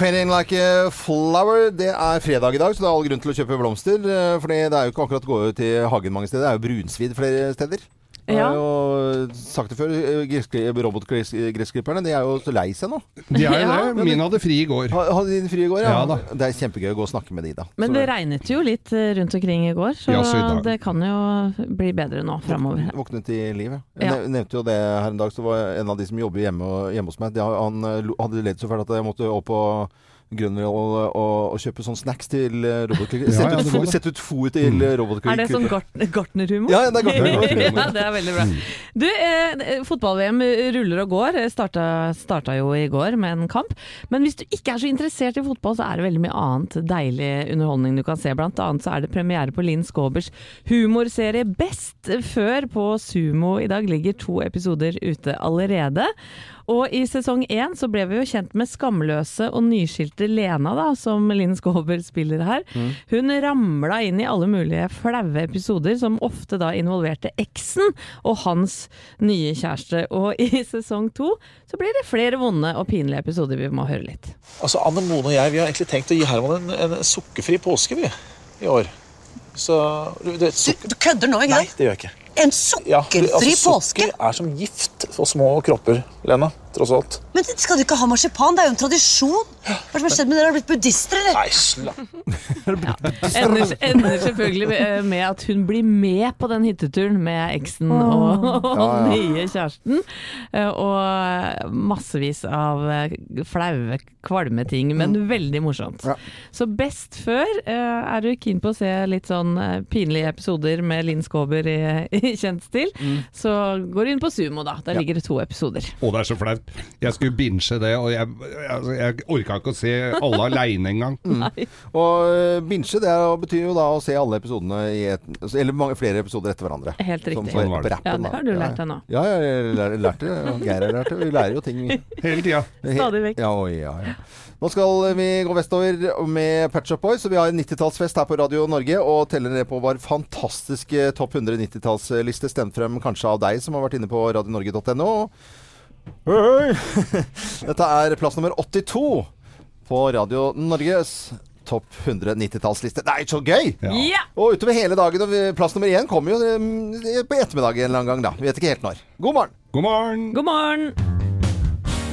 Speaker 1: Painting like a flower. Det er fredag i dag, så det er all grunn til å kjøpe blomster. For det er jo ikke akkurat å gå ut i hagen mange steder. Det er jo brunsvidd flere steder. Jeg
Speaker 4: Ja.
Speaker 1: har jo sagt det før, eh, robotgressklipperne de er jo så lei seg nå.
Speaker 2: De er jo
Speaker 4: Ja.
Speaker 2: det. Min hadde fri i går.
Speaker 1: Ha- Hadde din fri i går, ja?
Speaker 2: Ja da.
Speaker 1: Det er kjempegøy å gå og snakke med de, da.
Speaker 4: Men
Speaker 1: Så-
Speaker 4: det regnet jo litt eh, rundt omkring i går, så
Speaker 2: Ja, så i dag-
Speaker 4: det kan jo bli bedre nå framover.
Speaker 1: Våknet i liv, ja.
Speaker 4: Ja.
Speaker 1: Jeg nev- nevnte jo det her en dag, så var en av de som jobber hjemme, hjemme hos meg, det, har- han eh, lo- hadde ledd så fælt at jeg måtte opp på Grønland og, og, og kjøpe sånne snacks til eh, robotklikker.
Speaker 2: Ja,
Speaker 1: Sett
Speaker 2: ja,
Speaker 1: ut,
Speaker 2: det var
Speaker 1: fôr-
Speaker 2: det.
Speaker 1: sett ut fôr til mm. robotklikker.
Speaker 4: Er det sånn gart- gartnerhumor?
Speaker 1: Ja, ja, det Mm. er gartnerhumor.
Speaker 4: ja, det er veldig bra. Du, eh, fotball-VM ruller og går. Eh, Starta, starta jo i går med en kamp. Men hvis du ikke er så interessert i fotball, så er det veldig mye annet deilig underholdning du kan se. Blant annet så er det premiere på Linn Skåbers humorserie Best før på Sumo. I dag ligger to episoder ute allerede. Og i sesong én så ble vi jo kjent med skamløse og nyskilte Lena, da, som Linn Skåber spiller her. Hun ramla inn i alle mulige flaue episoder, som ofte da involverte eksen og hans nye kjæreste. Og i sesong to så blir det flere vonde og pinlige episoder. Vi må høre litt.
Speaker 11: Altså, Anne Mone og jeg vi har egentlig tenkt å gi Herman en, en sukkerfri påske vi, i år. Så Du, du, vet, sukker-
Speaker 12: Du kødder nå, ikke
Speaker 11: Nei,
Speaker 12: sant?
Speaker 11: det gjør jeg ikke.
Speaker 12: En
Speaker 11: Ja, du,
Speaker 12: sukkerfri
Speaker 11: altså,
Speaker 12: påske?
Speaker 11: sukker er som gift for små kropper, Lena. Tross alt.
Speaker 12: Men skal du ikke ha marsipan? Det er jo en tradisjon. Hva er det som har skjedd med dere? Har dere blitt buddhister, eller?
Speaker 11: Nei, slapp
Speaker 4: Ender, ender selvfølgelig med- med at hun blir med på den hytteturen med eksen og, og
Speaker 1: Ja, ja.
Speaker 4: nye kjæresten. Eh, Og massevis av eh, flaue, kvalme ting, men veldig morsomt.
Speaker 1: Mm. Ja.
Speaker 4: Så best før, eh, er du keen på å se litt sånn eh, pinlige episoder med Linn Skåber i, i kjent stil,
Speaker 1: Mm.
Speaker 4: så går du inn på Sumo da. Der ligger det to episoder.
Speaker 2: Å, det er så flaut. Jeg skulle binche det, og jeg, jeg, jeg orka ikke å se alle aleine engang.
Speaker 4: Mm.
Speaker 1: Mm. Og eh, binge, det er- betyr jo da å se alle episodene i et altså, Eller mange, flere episoder etter hverandre.
Speaker 4: Helt
Speaker 1: Som
Speaker 4: riktig.
Speaker 1: på-
Speaker 2: Sånn var det.
Speaker 1: på rappen,
Speaker 4: Ja, det
Speaker 1: da.
Speaker 4: har du lært deg nå.
Speaker 1: Ja, ja, jeg lær- lærte det. og Geir har lært det. Vi lærer jo ting. vi.
Speaker 2: Hele tida.
Speaker 4: Stadig vekk.
Speaker 1: Ja, oi, ja, ja. Nå skal vi gå vestover med Patch Up Boys, og vi har en 90-tallsfest her på Radio Norge. Og teller ned på vår fantastiske topp 100 90-tallsliste, stemt frem kanskje av deg som har vært inne på radionorge.no. Hei! Dette er plass nummer 82 på Radio Norges topp 100 90-tallsliste. Det er så gøy!
Speaker 2: Ja.
Speaker 4: Ja.
Speaker 1: Og utover hele dagen. Og vi- plass nummer én kommer jo eh, på ettermiddag en eller annen gang, da. Vi vet ikke helt når. God morgen!
Speaker 2: God morgen!
Speaker 4: God morgen!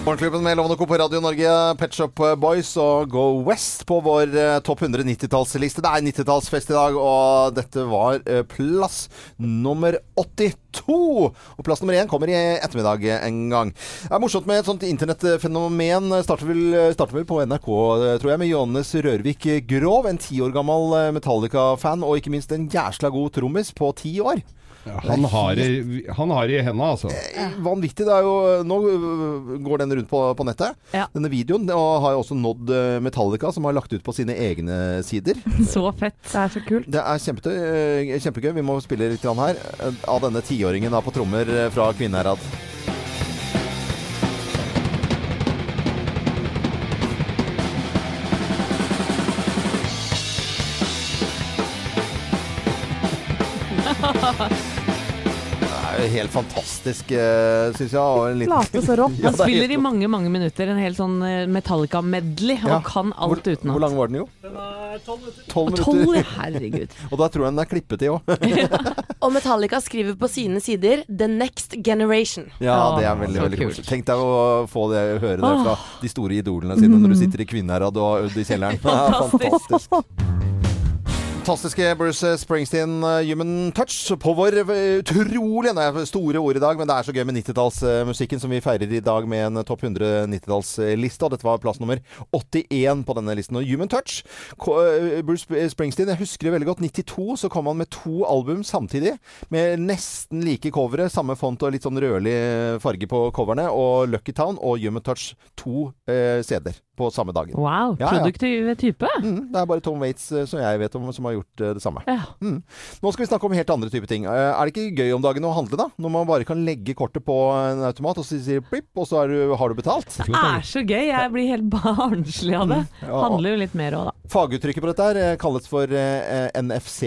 Speaker 1: Morgenklubben med Lovende Co på Radio Norge, Pet Shop Boys og Go West på vår eh, topp 100 90-tallsliste. Det er 90-tallsfest i dag, og dette var eh, plass nummer 82. Og plass nummer 1 kommer i ettermiddag eh, en gang. Det er morsomt med et sånt internettfenomen. Eh, Starter vel, eh, starter vel på NRK, eh, tror jeg, med Johannes Rørvik Grov. En ti år gammel eh, Metallica-fan, og ikke minst en jæsla god trommis på ti år.
Speaker 2: Han har, det- han har det i henda, altså.
Speaker 1: Vanvittig. Det er jo, nå øh, går den rundt på, på nettet,
Speaker 4: Ja.
Speaker 1: denne videoen. Og har jo også nådd øh, Metallica, som har lagt ut på sine egne sider.
Speaker 4: Så fett.
Speaker 5: Det er så kult.
Speaker 1: Det er kjempetøy, øh, kjempegøy. Vi må spille litt grann her øh, av denne tiåringen da på trommer øh, fra Kvinnherad. Det er jo helt fantastisk, øh, syns jeg. Og en liten
Speaker 5: Late så rått.
Speaker 1: Ja,
Speaker 4: Han
Speaker 1: det er
Speaker 4: spiller i
Speaker 1: helt-
Speaker 4: mange mange minutter en hel sånn eh, Metallica-medley
Speaker 1: Ja.
Speaker 4: og kan
Speaker 1: hvor,
Speaker 4: alt
Speaker 1: Hvor
Speaker 4: utenat.
Speaker 1: lang var den, jo? Den er tolv minutter.
Speaker 4: Tolv, ja, herregud.
Speaker 1: Og da tror jeg den er klippet i òg.
Speaker 3: Og Metallica skriver på sine sider 'The Next Generation'.
Speaker 1: Ja,
Speaker 4: Ah,
Speaker 1: det er veldig
Speaker 4: så
Speaker 1: veldig
Speaker 4: kult.
Speaker 1: koselig. Tenk deg å få det, høre det fra de store idolene sine når du sitter i Kvinnherad og har øvd i kjelleren.
Speaker 4: Fantastisk.
Speaker 1: Fantastiske Bruce Springsteen, uh, Human Touch, på vår uh, utrolig Nå er det store ord i dag, men det er så gøy med 90-tallsmusikken som vi feirer i dag med en topp 100 90-tallsliste. Og dette var plass nummer 81 på denne listen. Og Human Touch ko- uh, Bruce Sp- Springsteen, jeg husker det veldig godt. 92 så kom han med to album samtidig, med nesten like covere. Samme font og litt sånn rødlig uh, farge på coverne. Og Lucky Town og Human Touch to uh, CD-er på samme dagen.
Speaker 4: Wow,
Speaker 1: Ja, ja.
Speaker 4: produktiv type.
Speaker 1: Mm, det er bare Tom Waits uh, som jeg vet om, som har gjort uh, det samme.
Speaker 4: Ja.
Speaker 1: Nå skal vi snakke om helt andre typer ting. Eh, Er det ikke gøy om dagen å handle, da? Når man bare kan legge kortet på en automat, og så sier blipp, og så er du, har du betalt?
Speaker 4: Det er så gøy. Jeg blir helt barnslig av det.
Speaker 1: og-
Speaker 4: Handler jo litt mer òg, da.
Speaker 1: Faguttrykket på dette her eh, kalles for eh,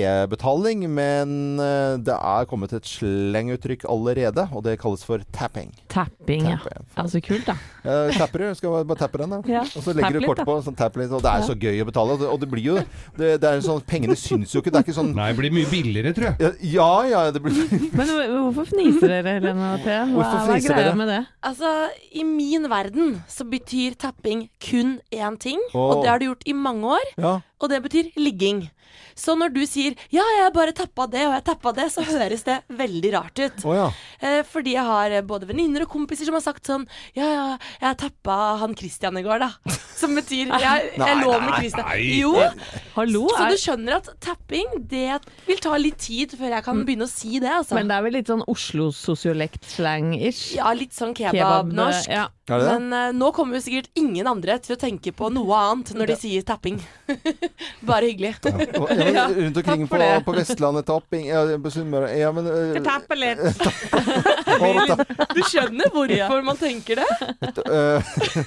Speaker 1: NFC-betaling, men eh, det er kommet et slenguttrykk allerede, og det kalles for tapping.
Speaker 4: Tapping, ja. Ja, Så kult, da.
Speaker 1: Eh, tapper du, skal bare tappe den, da.
Speaker 4: Ja.
Speaker 1: Og så
Speaker 4: Tapp
Speaker 1: legger du
Speaker 4: litt,
Speaker 1: kortet
Speaker 4: da.
Speaker 1: på, sånn tapp litt, og det er så gøy å betale. og det- Og det blir jo det, det er sånn, Pengene syns jo ikke. Det er ikke sånn
Speaker 2: Nei, det blir mye billigere, tror jeg.
Speaker 1: Ja ja, det blir
Speaker 4: Men hvor- hvorfor fniser dere, Helene og Thea? Hva,
Speaker 1: Hvorfor
Speaker 4: hva er
Speaker 1: fniser dere?
Speaker 4: greia med det?
Speaker 3: Altså, I min verden så betyr tapping kun én ting,
Speaker 1: Åh.
Speaker 3: og det har du gjort i mange år.
Speaker 1: ja.
Speaker 3: Og det betyr ligging. Så når du sier 'ja, jeg bare tappa det og jeg tappa det', så høres det veldig rart ut.
Speaker 1: Å ja.
Speaker 3: Eh, fordi jeg har eh, både venninner og kompiser som har sagt sånn 'ja, ja, jeg tappa han Christian i går', da. Som betyr 'jeg, jeg lå med Christian'. Jo,
Speaker 4: Hallo?
Speaker 3: så
Speaker 4: Er,
Speaker 3: du skjønner at tapping, det vil ta litt tid før jeg kan begynne å si det, altså.
Speaker 4: Mm. men det er vel litt sånn Oslo-sosiolekt-slang-ish?
Speaker 3: ja, litt sånn kebabnorsk.
Speaker 4: eh, Ja.
Speaker 1: Er det det?
Speaker 3: Men eh, nå kommer jo sikkert ingen andre til å tenke på noe annet når de sier tapping. Bare hyggelig.
Speaker 1: Og- ja, men rundt omkring
Speaker 4: takk
Speaker 1: på,
Speaker 4: for det.
Speaker 1: på Vestlandet, tapping ja, På Sunnmøre ja, men, eh,
Speaker 4: Tapper litt.
Speaker 1: å, ta-
Speaker 3: Du skjønner hvorfor man tenker det?
Speaker 1: Eh,
Speaker 2: Eh,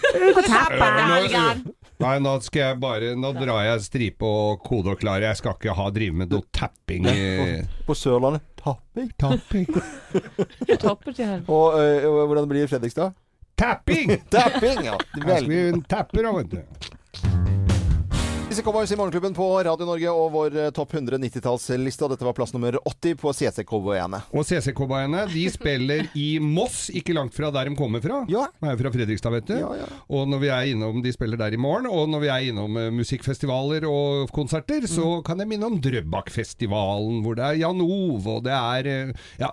Speaker 2: Nå, nei, nå skal jeg bare Nå drar jeg stripe og kode og klare. Jeg skal ikke ha drive med noe tapping. i-
Speaker 1: på Sørlandet tapping.
Speaker 2: Tapping!
Speaker 4: Topper, sier jeg.
Speaker 1: Og eh, og hvordan blir det i Fredrikstad?
Speaker 2: Tapping!
Speaker 1: Tapping! ja.
Speaker 2: Her
Speaker 1: Vel.
Speaker 2: skal vi tapper, da, vet du.
Speaker 1: Disse Cowboys i Morgenklubben på Radio Norge og vår eh, topp 100 90-tallsliste. og Dette var plass nummer 80 på CC Cowboyene.
Speaker 2: Og CC-cowboyene de spiller i Moss, ikke langt fra der de kommer fra.
Speaker 1: Ja.
Speaker 2: De er jo fra Fredrikstad, vet du.
Speaker 1: Ja, ja.
Speaker 2: Og når vi er innom, de spiller der i morgen. Og når vi er innom eh, musikkfestivaler og konserter, så
Speaker 1: Mm.
Speaker 2: kan jeg minne om Drøbakfestivalen, hvor det er Jan Ove, og det er eh, ja,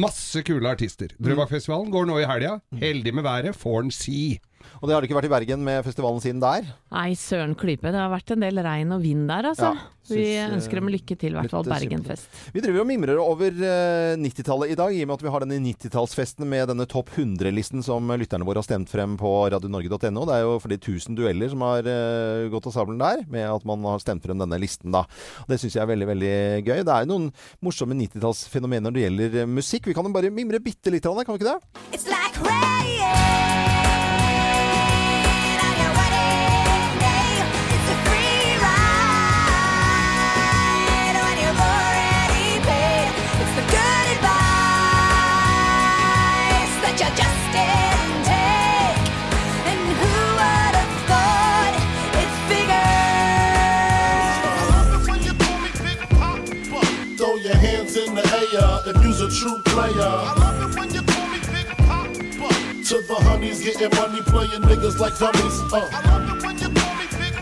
Speaker 2: masse kule artister.
Speaker 1: Mm.
Speaker 2: Drøbakfestivalen går nå i helga. Heldig med været, får en si.
Speaker 1: Og det har det ikke vært i Bergen med festivalen siden der.
Speaker 4: Nei, søren klype. Det har vært en del regn og vind der, altså.
Speaker 1: Ja,
Speaker 4: vi
Speaker 1: synes, eh,
Speaker 4: ønsker dem lykke til, i
Speaker 1: litt,
Speaker 4: hvert fall
Speaker 1: eh, synd på det.
Speaker 4: Bergenfest.
Speaker 1: Vi driver og mimrer over eh, 90-tallet i dag, i og med at vi har denne 90-tallsfesten med denne topp 100-listen som lytterne våre har stemt frem på radionorge.no. Det er jo fordi 1000 dueller som har eh, gått av sabelen der, med at man har stemt frem denne listen, da. Og det syns jeg er veldig, veldig gøy. Det er jo noen morsomme 90-tallsfenomener når det gjelder eh, musikk. Vi kan jo bare mimre bitte lite grann, kan vi ikke det?
Speaker 9: It's like rain on a wedding day. It's a free ride when you've already paid. It's the good advice that you just didn't take. And who would have thought it figured
Speaker 13: a true player. I love it when you call me Big Papa. To the honeys getting money, playing niggas like dummies. Uh. I love it when you call me Big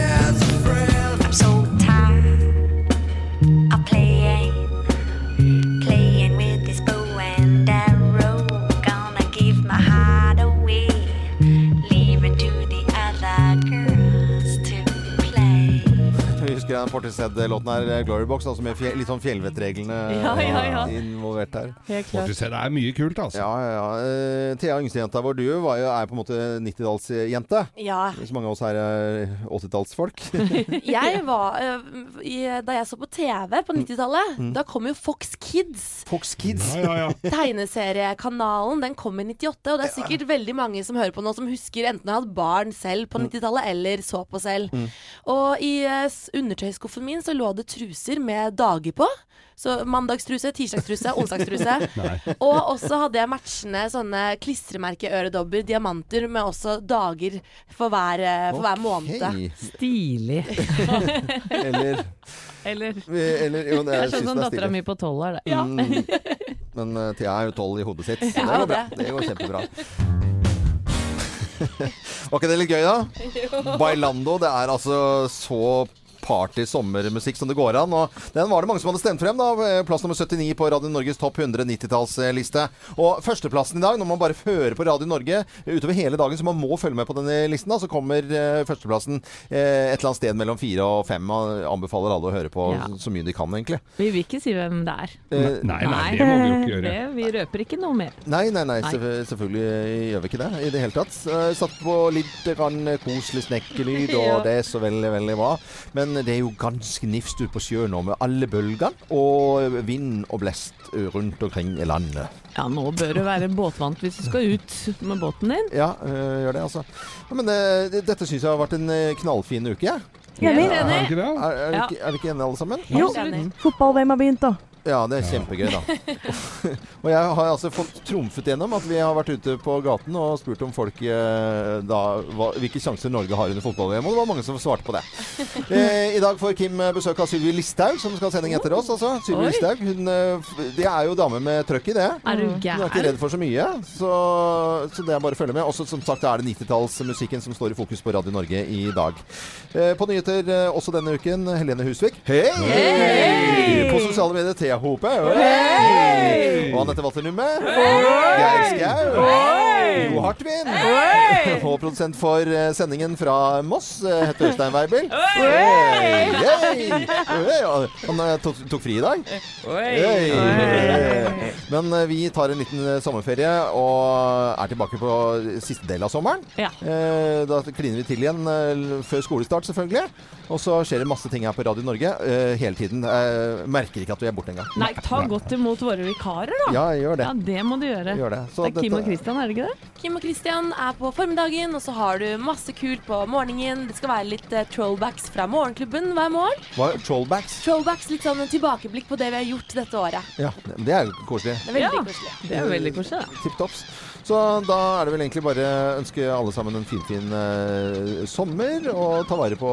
Speaker 9: I'm so tired of playing, playing with this bow and arrow. Gonna give my heart away, leaving to the other girls to play.
Speaker 1: Vi husker den Portishead-låten her, Glorybox, altså med fje- litt sånn fjellvettreglene
Speaker 9: Ja, ja, ja.
Speaker 1: involvert her.
Speaker 4: Helt
Speaker 2: Fortishead er mye kult, altså.
Speaker 1: Ja, ja, ja. Eh, Thea, yngstejenta vår, du var jo, er på en måte 90-tallsjente.
Speaker 3: Ja.
Speaker 1: Så mange av oss her er 80-tallsfolk.
Speaker 3: Jeg var, eh, i, da jeg så på TV på 90-tallet,
Speaker 1: Mm.
Speaker 3: da kom jo Fox Kids.
Speaker 1: Fox Kids.
Speaker 3: Tegneseriekanalen den kom i 98, og det er sikkert veldig mange som hører på nå som husker enten har hatt barn selv på 90-tallet eller så på selv. Og i eh, s- undertøyskuffen min så lå det truser med dager på. Så mandagstruse, tirsdagstruse, onsdagstruse.
Speaker 9: Nei.
Speaker 3: Og også hadde jeg matchende sånne klistremerkeøredobber, diamanter, med også dager for hver, eh, for hver måned.
Speaker 4: Stilig.
Speaker 1: Eller,
Speaker 4: Eller
Speaker 1: Eh, eller- jo, det er-
Speaker 4: er
Speaker 1: synes
Speaker 4: sånn som
Speaker 1: det er
Speaker 4: dattera
Speaker 1: stilig.
Speaker 4: mi på tolv er, det.
Speaker 1: Mm. Men eh, Thea er jo 12 i hodet sitt, så det
Speaker 4: Ja,
Speaker 1: går bra.
Speaker 4: det.
Speaker 1: Det går kjempebra. Var ikke det litt gøy, da? Bailando, det er altså så party sommermusikk som det går an. Og den var det mange som hadde stemt frem. da Plass nummer 79 på Radio Norges topp 100 90-tallsliste. Og førsteplassen i dag, når man bare hører på Radio Norge utover hele dagen, så man må følge med på denne listen, da, så kommer eh, førsteplassen eh, et eller annet sted mellom fire og fem. Og anbefaler alle å høre på
Speaker 4: Ja.
Speaker 1: så mye de kan, egentlig.
Speaker 4: Vi vil ikke si hvem det er.
Speaker 1: Eh,
Speaker 4: Det- vi røper ikke noe mer.
Speaker 1: Nei, nei, nei,
Speaker 4: Nei.
Speaker 1: selvfø- selvfølgelig eh, gjør vi ikke det i det hele tatt. Eh, Satt på litt grann eh, koselig snekkelyd, og
Speaker 4: Ja.
Speaker 1: det er så veldig, veldig bra. Men det er jo ganske nifst ute på sjøen nå med alle bølgene og vind og blest eh, rundt omkring i landet.
Speaker 4: Ja, nå bør du være båtvant hvis du skal ut med båten din.
Speaker 1: Ja, eh, gjør det, altså. Ja, Men eh, det- dette syns jeg har vært en eh, knallfin uke, jeg.
Speaker 5: Helt enig.
Speaker 1: Er,
Speaker 5: Enig.
Speaker 1: er, er,
Speaker 5: Ja.
Speaker 1: dere ikke- er dere ikke enige, alle sammen?
Speaker 5: Jo, fotball-VM har begynt, da.
Speaker 1: Ja, det er kjempegøy, da. og jeg har altså fått trumfet gjennom at vi har vært ute på gaten og spurt om folk eh, da, hva, hvilke sjanser Norge har under fotball-VM, og det var mange som svarte på det. Eh, I dag får Kim eh, besøk av Sylvi Listhaug, som skal ha sending etter oss. Altså. Sylvi
Speaker 4: Oi.
Speaker 1: Listhaug, hun eh, f- det er jo dame med trøkk i det.
Speaker 4: Er du
Speaker 1: Hun er ikke
Speaker 4: gæren?
Speaker 1: redd for så mye, så, så det er bare å følge med. Også som sagt er det 90-tallsmusikken som står i fokus på Radio Norge i dag. Eh, på nyheter eh, også denne uken, Helene Husvik. Hei! På sosiale medier Thea Hope. Hei! Og Anette Walternumme. Geir Skau. Jo Hartvin. Og produsent for eh, sendingen fra Moss eh, heter Øystein Weibel. Hei! Hei! Hei! Han eh, tok, tok fri i dag. Hei! Men eh, vi tar en liten eh, sommerferie og er tilbake på siste del av sommeren. Eh, Da kliner vi til igjen eh, før skolestart, selvfølgelig. Og så skjer det masse ting her på Radio Norge eh, hele tiden. Eh, Merker ikke at vi er borte engang.
Speaker 4: Nei, ta godt imot våre vikarer, da.
Speaker 1: Ja, gjør det.
Speaker 4: Ja, det må du gjøre.
Speaker 1: Gjør det. Så
Speaker 4: er Kim
Speaker 1: dette-
Speaker 4: og Christian, er det ikke det?
Speaker 3: Kim og Christian er på formiddagen, og så har du masse kult på morgenen. Det skal være litt eh, trollbacks fra morgenklubben hver morgen.
Speaker 1: Hva- Trollbacks.
Speaker 3: Trollbacks, litt sånn en tilbakeblikk på det vi har gjort dette året.
Speaker 1: Ja, det er jo koselig.
Speaker 3: Det er veldig koselig.
Speaker 4: Det er jo veldig koselig, da.
Speaker 1: Tipp topps. Så da er det vel egentlig bare å ønske alle sammen en finfin fin, eh, sommer, og ta vare på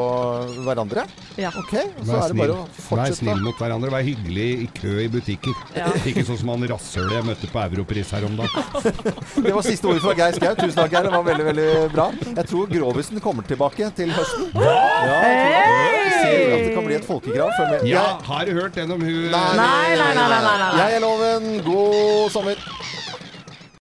Speaker 1: hverandre.
Speaker 4: Ja.
Speaker 1: Ok, og så
Speaker 2: Vær
Speaker 1: er det bare
Speaker 2: snill.
Speaker 1: å
Speaker 2: Vær
Speaker 1: fortsette.
Speaker 2: snill mot hverandre. Vær hyggelig i kø i butikker. Ikke sånn som han rasshølet jeg møtte på Europris her om dagen.
Speaker 1: Det var siste ordet fra Geir Skau. Tusen takk, Geir. Det var veldig, veldig bra. Jeg tror Grovisen kommer tilbake til høsten. Ja, jeg tror det. Ser ut til at det kan bli et folkekrav. Følg med.
Speaker 2: Ja, har du hørt den om hun
Speaker 1: Nei, nei, nei, nei, nei, nei. Jeg er Loven. God sommer.